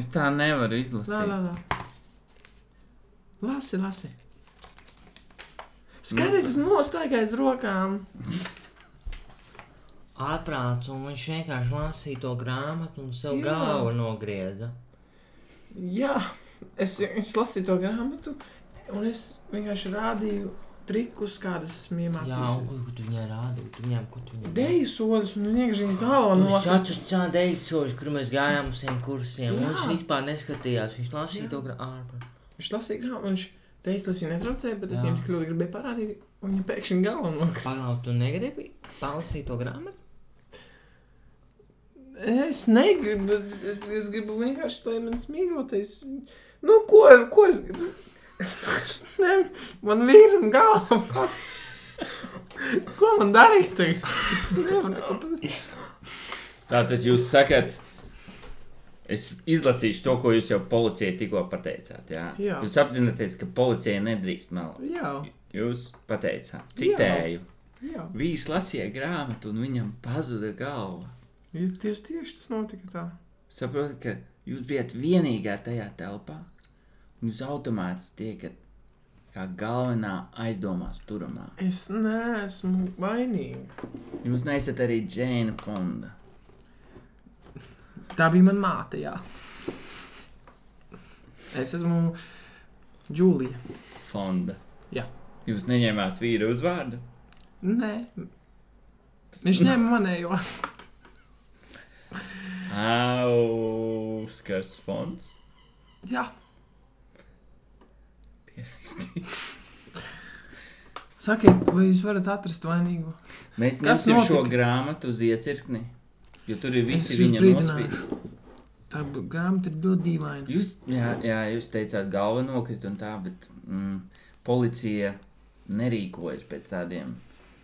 Speaker 8: Es tā nevaru
Speaker 1: Lā, lā,
Speaker 8: izlasīt.
Speaker 1: lā. Lasi, lasi.
Speaker 8: Nu.
Speaker 1: Skaties, es nostāju aiz rokām.
Speaker 3: Atprāts, un viņš vienkārši lasīja to grāmatu un sev
Speaker 1: Jā.
Speaker 3: galvu nogrieza.
Speaker 1: Jā, es, es lasīju to grāmatu, un es vienkārši rādīju trikus, kādas esmu
Speaker 3: Jā, un
Speaker 1: iemācījies.
Speaker 3: ko ko tu viņai rādīji? Tu viņam, ko tu viņai
Speaker 1: Deju sodas, un viņš vienkārši galvā
Speaker 3: Viņš
Speaker 1: nokrita.
Speaker 3: atšķirās dēļ soļus, kur mēs gājām uz tiem kursiem.
Speaker 1: Jā.
Speaker 3: un Viņš vispār neskatījās, viņš lasīja to grāmatu.
Speaker 1: Viņš lasīja grāmatu, un viņš teica, tas viņa netraucēja, bet es
Speaker 3: Jā.
Speaker 1: viņam tik ļoti gribēju parādīt, un viņa pēkšņi galvā nokrita.
Speaker 3: Pagaidām, tu negribi palasīt to grāmatu?
Speaker 1: Es negribu, bet es, es, es gribu vienkārši, lai mans mīļotais. Nu, ko, ko es gribu? Es nevaru, man vīram galvā pas. Ko man darīt tagad? Es nevaru neko pasakīt.
Speaker 2: Tātad jūs sakat, es izlasīšu to, ko jūs jau policijai tikko pateicāt. Jā?
Speaker 1: Jā.
Speaker 2: Jūs apzināties, ka policija nedrīkst melot.
Speaker 1: Jā,
Speaker 2: Jūs pateicāt, citēju. Jā.
Speaker 1: jā.
Speaker 2: Vīrs lasīja grāmatu, un viņam pazuda galva.
Speaker 1: Ja Tieši, tieši tas notika tā.
Speaker 2: Saprotat, ka jūs bijat vienīgā tajā telpā, un jūs automātiski tiekat kā galvenā aizdomās turamā.
Speaker 1: Es neesmu vainīga.
Speaker 2: Jūs neesat arī Džēna fonda.
Speaker 1: Tā bija mana māte, jā. Es esmu Džūlija.
Speaker 2: fonda.
Speaker 1: Jā.
Speaker 2: Jūs neņēmāt vīru uzvārdu?
Speaker 1: Nē. Viņš ņēma manējo.
Speaker 2: Auskars fonds.
Speaker 1: Jā. Sakiet, vai jūs varat atrast vainīgo?
Speaker 2: Mēs
Speaker 1: Kas
Speaker 2: nesim šo
Speaker 1: notika?
Speaker 2: grāmatu uz iecirkni, jo tur ir
Speaker 1: Es
Speaker 2: visi
Speaker 1: jūs
Speaker 2: viņa nospīd.
Speaker 1: brīdināšu. Tā b- grāmata ir ļoti dīvaina.
Speaker 2: Jūs, jā, jā, jūs teicāt galva nokrit un tā, bet mm, policija nerīkojas pēc tādiem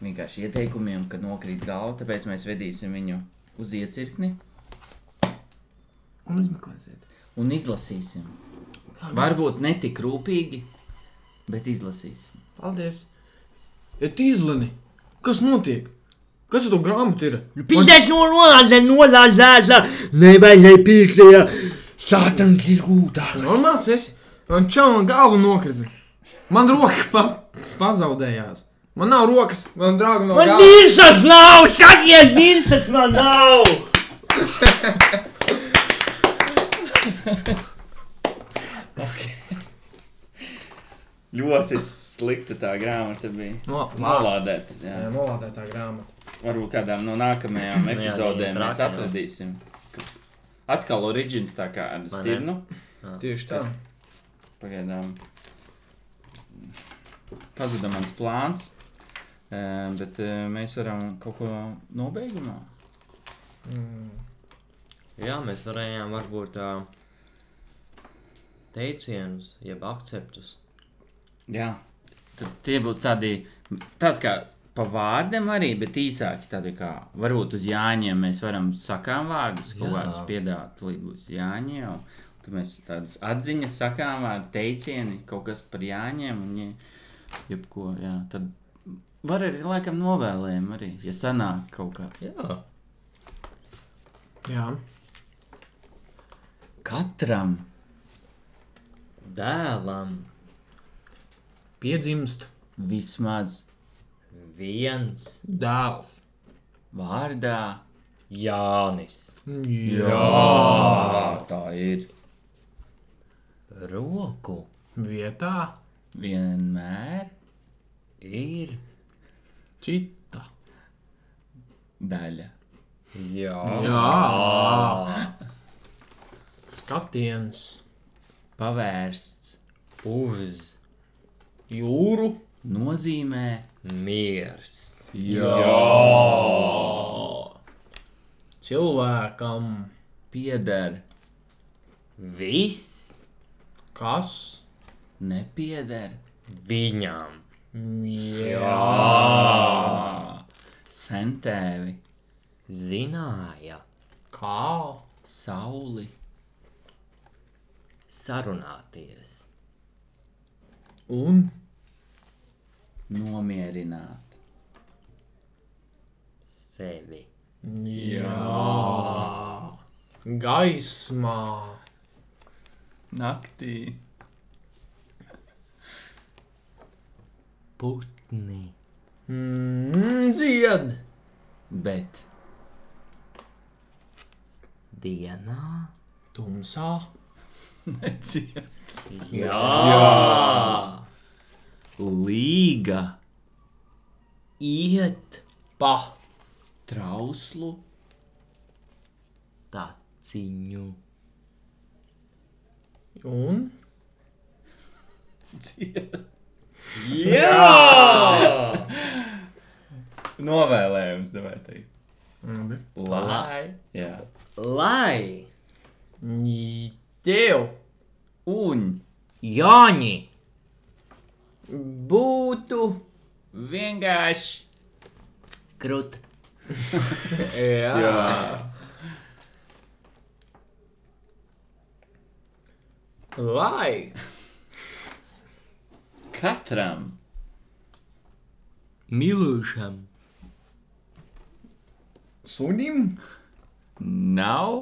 Speaker 2: vienkārši ieteikumiem, ka nokrīt galva, tāpēc mēs vedīsim viņu uz iecirkni
Speaker 1: Un izmeklēsiet.
Speaker 2: un izlasīsim.
Speaker 1: Labi.
Speaker 2: Varbūt netik rūpīgi, bet izlasīsim.
Speaker 1: Paldies! Et izlini! Kas notiek? Kas ar to grāmatu ir?
Speaker 4: Pīdēs no nolāzē, nolāzē, nevajag pīkstē, sātans ir gūtā.
Speaker 1: Normāls esi? Man čau man galva nokrita. Man roka pa pazaudējās. Man nav rokas, man draugi nav
Speaker 4: Man
Speaker 1: galvas.
Speaker 4: virsas nav, sakiet, virsas man nav!
Speaker 2: Ļoti slikta tā grāmata bija.
Speaker 1: Nolādēt.
Speaker 2: Nolādēt.
Speaker 1: Jā,
Speaker 2: Jā.
Speaker 1: nolādēt tā grāmata.
Speaker 2: Varbūt kādā no nākamajām
Speaker 3: jā,
Speaker 2: epizodēm
Speaker 3: jā,
Speaker 2: mēs
Speaker 3: trakajām.
Speaker 2: atradīsim. ka- Atkal origins tā kā ar
Speaker 3: Vai ne?
Speaker 2: stirnu.
Speaker 1: Tieši tā.
Speaker 2: Pagaidām. Pazuda mans plāns. Eh, Bet eh, mēs varam kaut ko nobeigumā.
Speaker 3: Jā, mēs varējām varbūt tā teicienus, jeb akceptus.
Speaker 2: Jā. Tad tie būs tādi, tāds kā pa vārdiem arī, bet īsāki tādi kā varbūt uz Jāņiem mēs varam sakām vārdus, kaut
Speaker 9: Jā.
Speaker 2: kādus piedāvāt līdz uz Jāņiem. jau. Tad mēs tādas atziņas sakām vārdu teicieni, kaut kas par Jāņiem un ja- jebko, jā. Tad var arī laikam novēlējumu arī, ja sanāk kaut kāds.
Speaker 9: Jā,
Speaker 1: Jā,
Speaker 2: Katram
Speaker 3: Dēlam
Speaker 1: piedzimst
Speaker 2: vismaz
Speaker 3: viens
Speaker 1: dēls.
Speaker 2: vārdā.
Speaker 3: Jānis.
Speaker 1: Jā,
Speaker 2: Ā, tā ir.
Speaker 3: Roku
Speaker 1: vietā
Speaker 2: Vienmēr
Speaker 3: ir
Speaker 1: cita.
Speaker 2: daļa.
Speaker 3: jā.
Speaker 1: Jā, skatiens
Speaker 2: Pavērsts
Speaker 3: Uz
Speaker 1: jūru.
Speaker 2: nozīmē
Speaker 3: miers.
Speaker 1: Cilvēkam,
Speaker 2: pieder,
Speaker 3: Viss
Speaker 1: kas
Speaker 2: nepieder,
Speaker 3: viņam.
Speaker 1: jā,
Speaker 2: centēvi,
Speaker 3: Zināja
Speaker 1: kā
Speaker 2: sauli,
Speaker 3: sarunāties.
Speaker 1: un
Speaker 2: nomierināt.
Speaker 3: Sevi.
Speaker 1: jā, gaismā,
Speaker 2: Naktī
Speaker 3: Putni.
Speaker 1: mm, dzied,
Speaker 2: bet
Speaker 3: Dienā.
Speaker 1: tumsā,
Speaker 2: neciet.
Speaker 3: Jā.
Speaker 2: Līga
Speaker 3: Iet
Speaker 1: pa
Speaker 2: trauslu
Speaker 3: taciņu.
Speaker 1: un
Speaker 2: novēlējums, devēt teikt.
Speaker 1: Labi.
Speaker 3: Lai.
Speaker 2: Jā.
Speaker 3: Lai.
Speaker 1: Nj, tev
Speaker 2: Un
Speaker 3: Jāņi.
Speaker 1: būtu
Speaker 2: vienkārši.
Speaker 3: Krut.
Speaker 1: jā, lai
Speaker 2: Katram
Speaker 9: mīlušam,
Speaker 1: sunim
Speaker 2: nav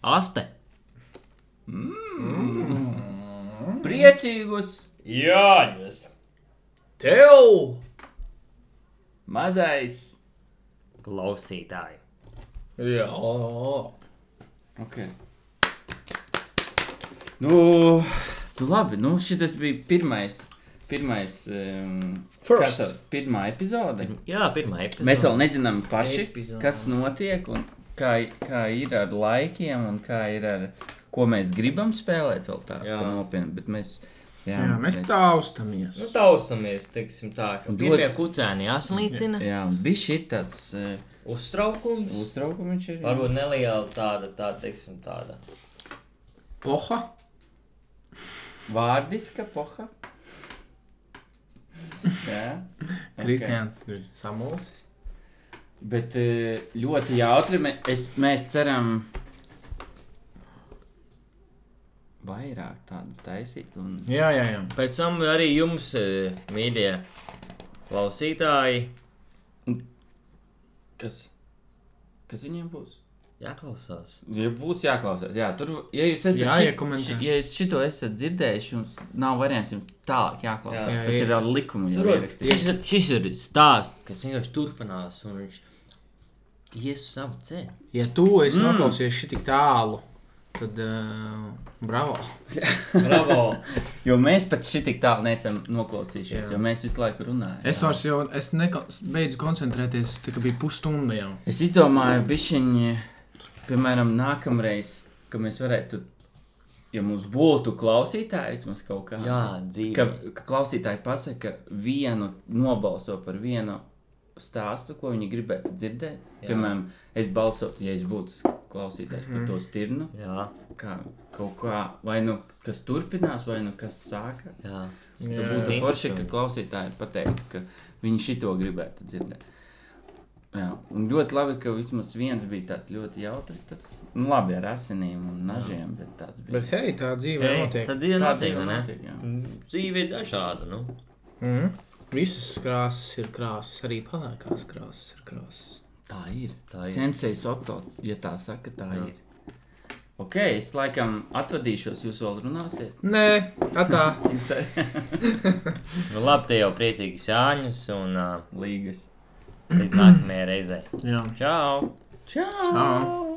Speaker 9: aste,
Speaker 2: priecīgus
Speaker 3: Jāņus.
Speaker 1: tev
Speaker 2: mazais.
Speaker 3: Klausītāji.
Speaker 1: jā,
Speaker 2: Okay. Nu, tu labi, nu šis bija pirmais. Pirmais, um,
Speaker 1: First.
Speaker 2: kas ir pirmā epizode.
Speaker 9: jā, pirmā epizode.
Speaker 2: Mēs vēl nezinām paši,
Speaker 1: Epizode.
Speaker 2: kas notiek un kā, kā ir ar laikiem un kā ir ar ko mēs gribam spēlēt vēl tā
Speaker 3: Jā.
Speaker 2: tā nopietni. Bet mēs, jā,
Speaker 1: jā, mēs taustamies.
Speaker 3: Nu, tausamies, teiksim tā, ka
Speaker 2: Un dod-
Speaker 3: pirmie kucēni jāslīcina.
Speaker 2: Jā, un bija šī tāds uh,
Speaker 3: Uztraukums.
Speaker 2: uztraukums viņš ir. jā.
Speaker 3: Varbūt neliela tāda, tā teiksim tāda.
Speaker 1: Poha,
Speaker 2: Vārdiska poha. Jā.
Speaker 1: Kristians ir samulsis.
Speaker 2: Bet eh, ļoti jautri. mē- Es, mēs ceram, vairāk tādas taisīt. Un...
Speaker 1: Jā, jā, jā.
Speaker 3: Pēc tam arī jums, e, mīļie klausītāji,
Speaker 2: Kas? Kas viņiem būs?
Speaker 3: jāklausās.
Speaker 2: Ja būs jāklausās. Jā, tur, ja jūs esat
Speaker 1: Jā,
Speaker 2: šit-
Speaker 1: iekomentē.
Speaker 2: ši- ja jūs šito esat dzirdējuši, jums nav variantu jums tālāk jāklausās.
Speaker 3: Jā,
Speaker 2: Jā, Tas
Speaker 1: jā.
Speaker 2: ir ar likumu jau
Speaker 3: Saprotu.
Speaker 2: ierakstīts.
Speaker 3: ir- šis ir stāsts, kas vienkārši turpinās un viņš ies savu ceļu.
Speaker 1: Ja tu esi mm. noklausies šī tik tālu, tad uh, bravo.
Speaker 3: Bravo!
Speaker 2: Jo mēs pat šitik tālu neesam noklausījušies,
Speaker 1: Jā.
Speaker 2: jo mēs visu laiku runājam.
Speaker 1: Es vairs jau, es neko, beidzu koncentrēties, tā kā bija pusstunda jau.
Speaker 2: Es izdomāju, bišķiņi, piemēram, nākamreiz, ka mēs varētu, ja mums būtu klausītāji, vismaz kaut kā.
Speaker 3: Jā, dzīve.
Speaker 2: Ka, ka klausītāji pasaka vienu, nobalso par vienu stāstu, ko viņi gribētu dzirdēt. Jā.
Speaker 3: Jā.
Speaker 2: Piemēram, es balsotu, ja es būtu klausītājs par to stirnu.
Speaker 10: Jā,
Speaker 2: Kā kaut kā, vai nu kas turpinās, vai nu kas sāka.
Speaker 10: jā.
Speaker 2: Tas būtu forši, ka klausītāji pateiktu, ka viņi šito gribētu dzirdēt. Jā, un ļoti labi, ka vismaz viens bija tāds ļoti jautrs. Tas, nu, labi, ar asinīm un nažiem, bet tāds bija.
Speaker 1: Bet hei, tā dzīve
Speaker 3: Ei,
Speaker 1: notiek.
Speaker 3: Tā dzīve
Speaker 2: Tā
Speaker 3: nav dzīve,
Speaker 2: dzīve
Speaker 3: ne?
Speaker 2: notiek, jā.
Speaker 3: Dzīve ir dažāda, nu.
Speaker 1: Mm. Visas krāsas ir krāsas, arī palēkās krāsas ir krāsas.
Speaker 2: Tā ir.
Speaker 10: Tā ir.
Speaker 2: Sensei Soto, ja tā saka, tā Jā. ir. Ok, es laikam atvadīšos, jūs vēl runāsiet.
Speaker 1: Nē, atā.
Speaker 2: Jūs arī
Speaker 3: Nu, labi, te jau priecīgi sāņus un uh,
Speaker 2: līgas.
Speaker 3: līdz nākamajai reizei.
Speaker 1: Jā.
Speaker 3: Čau!
Speaker 1: Čau.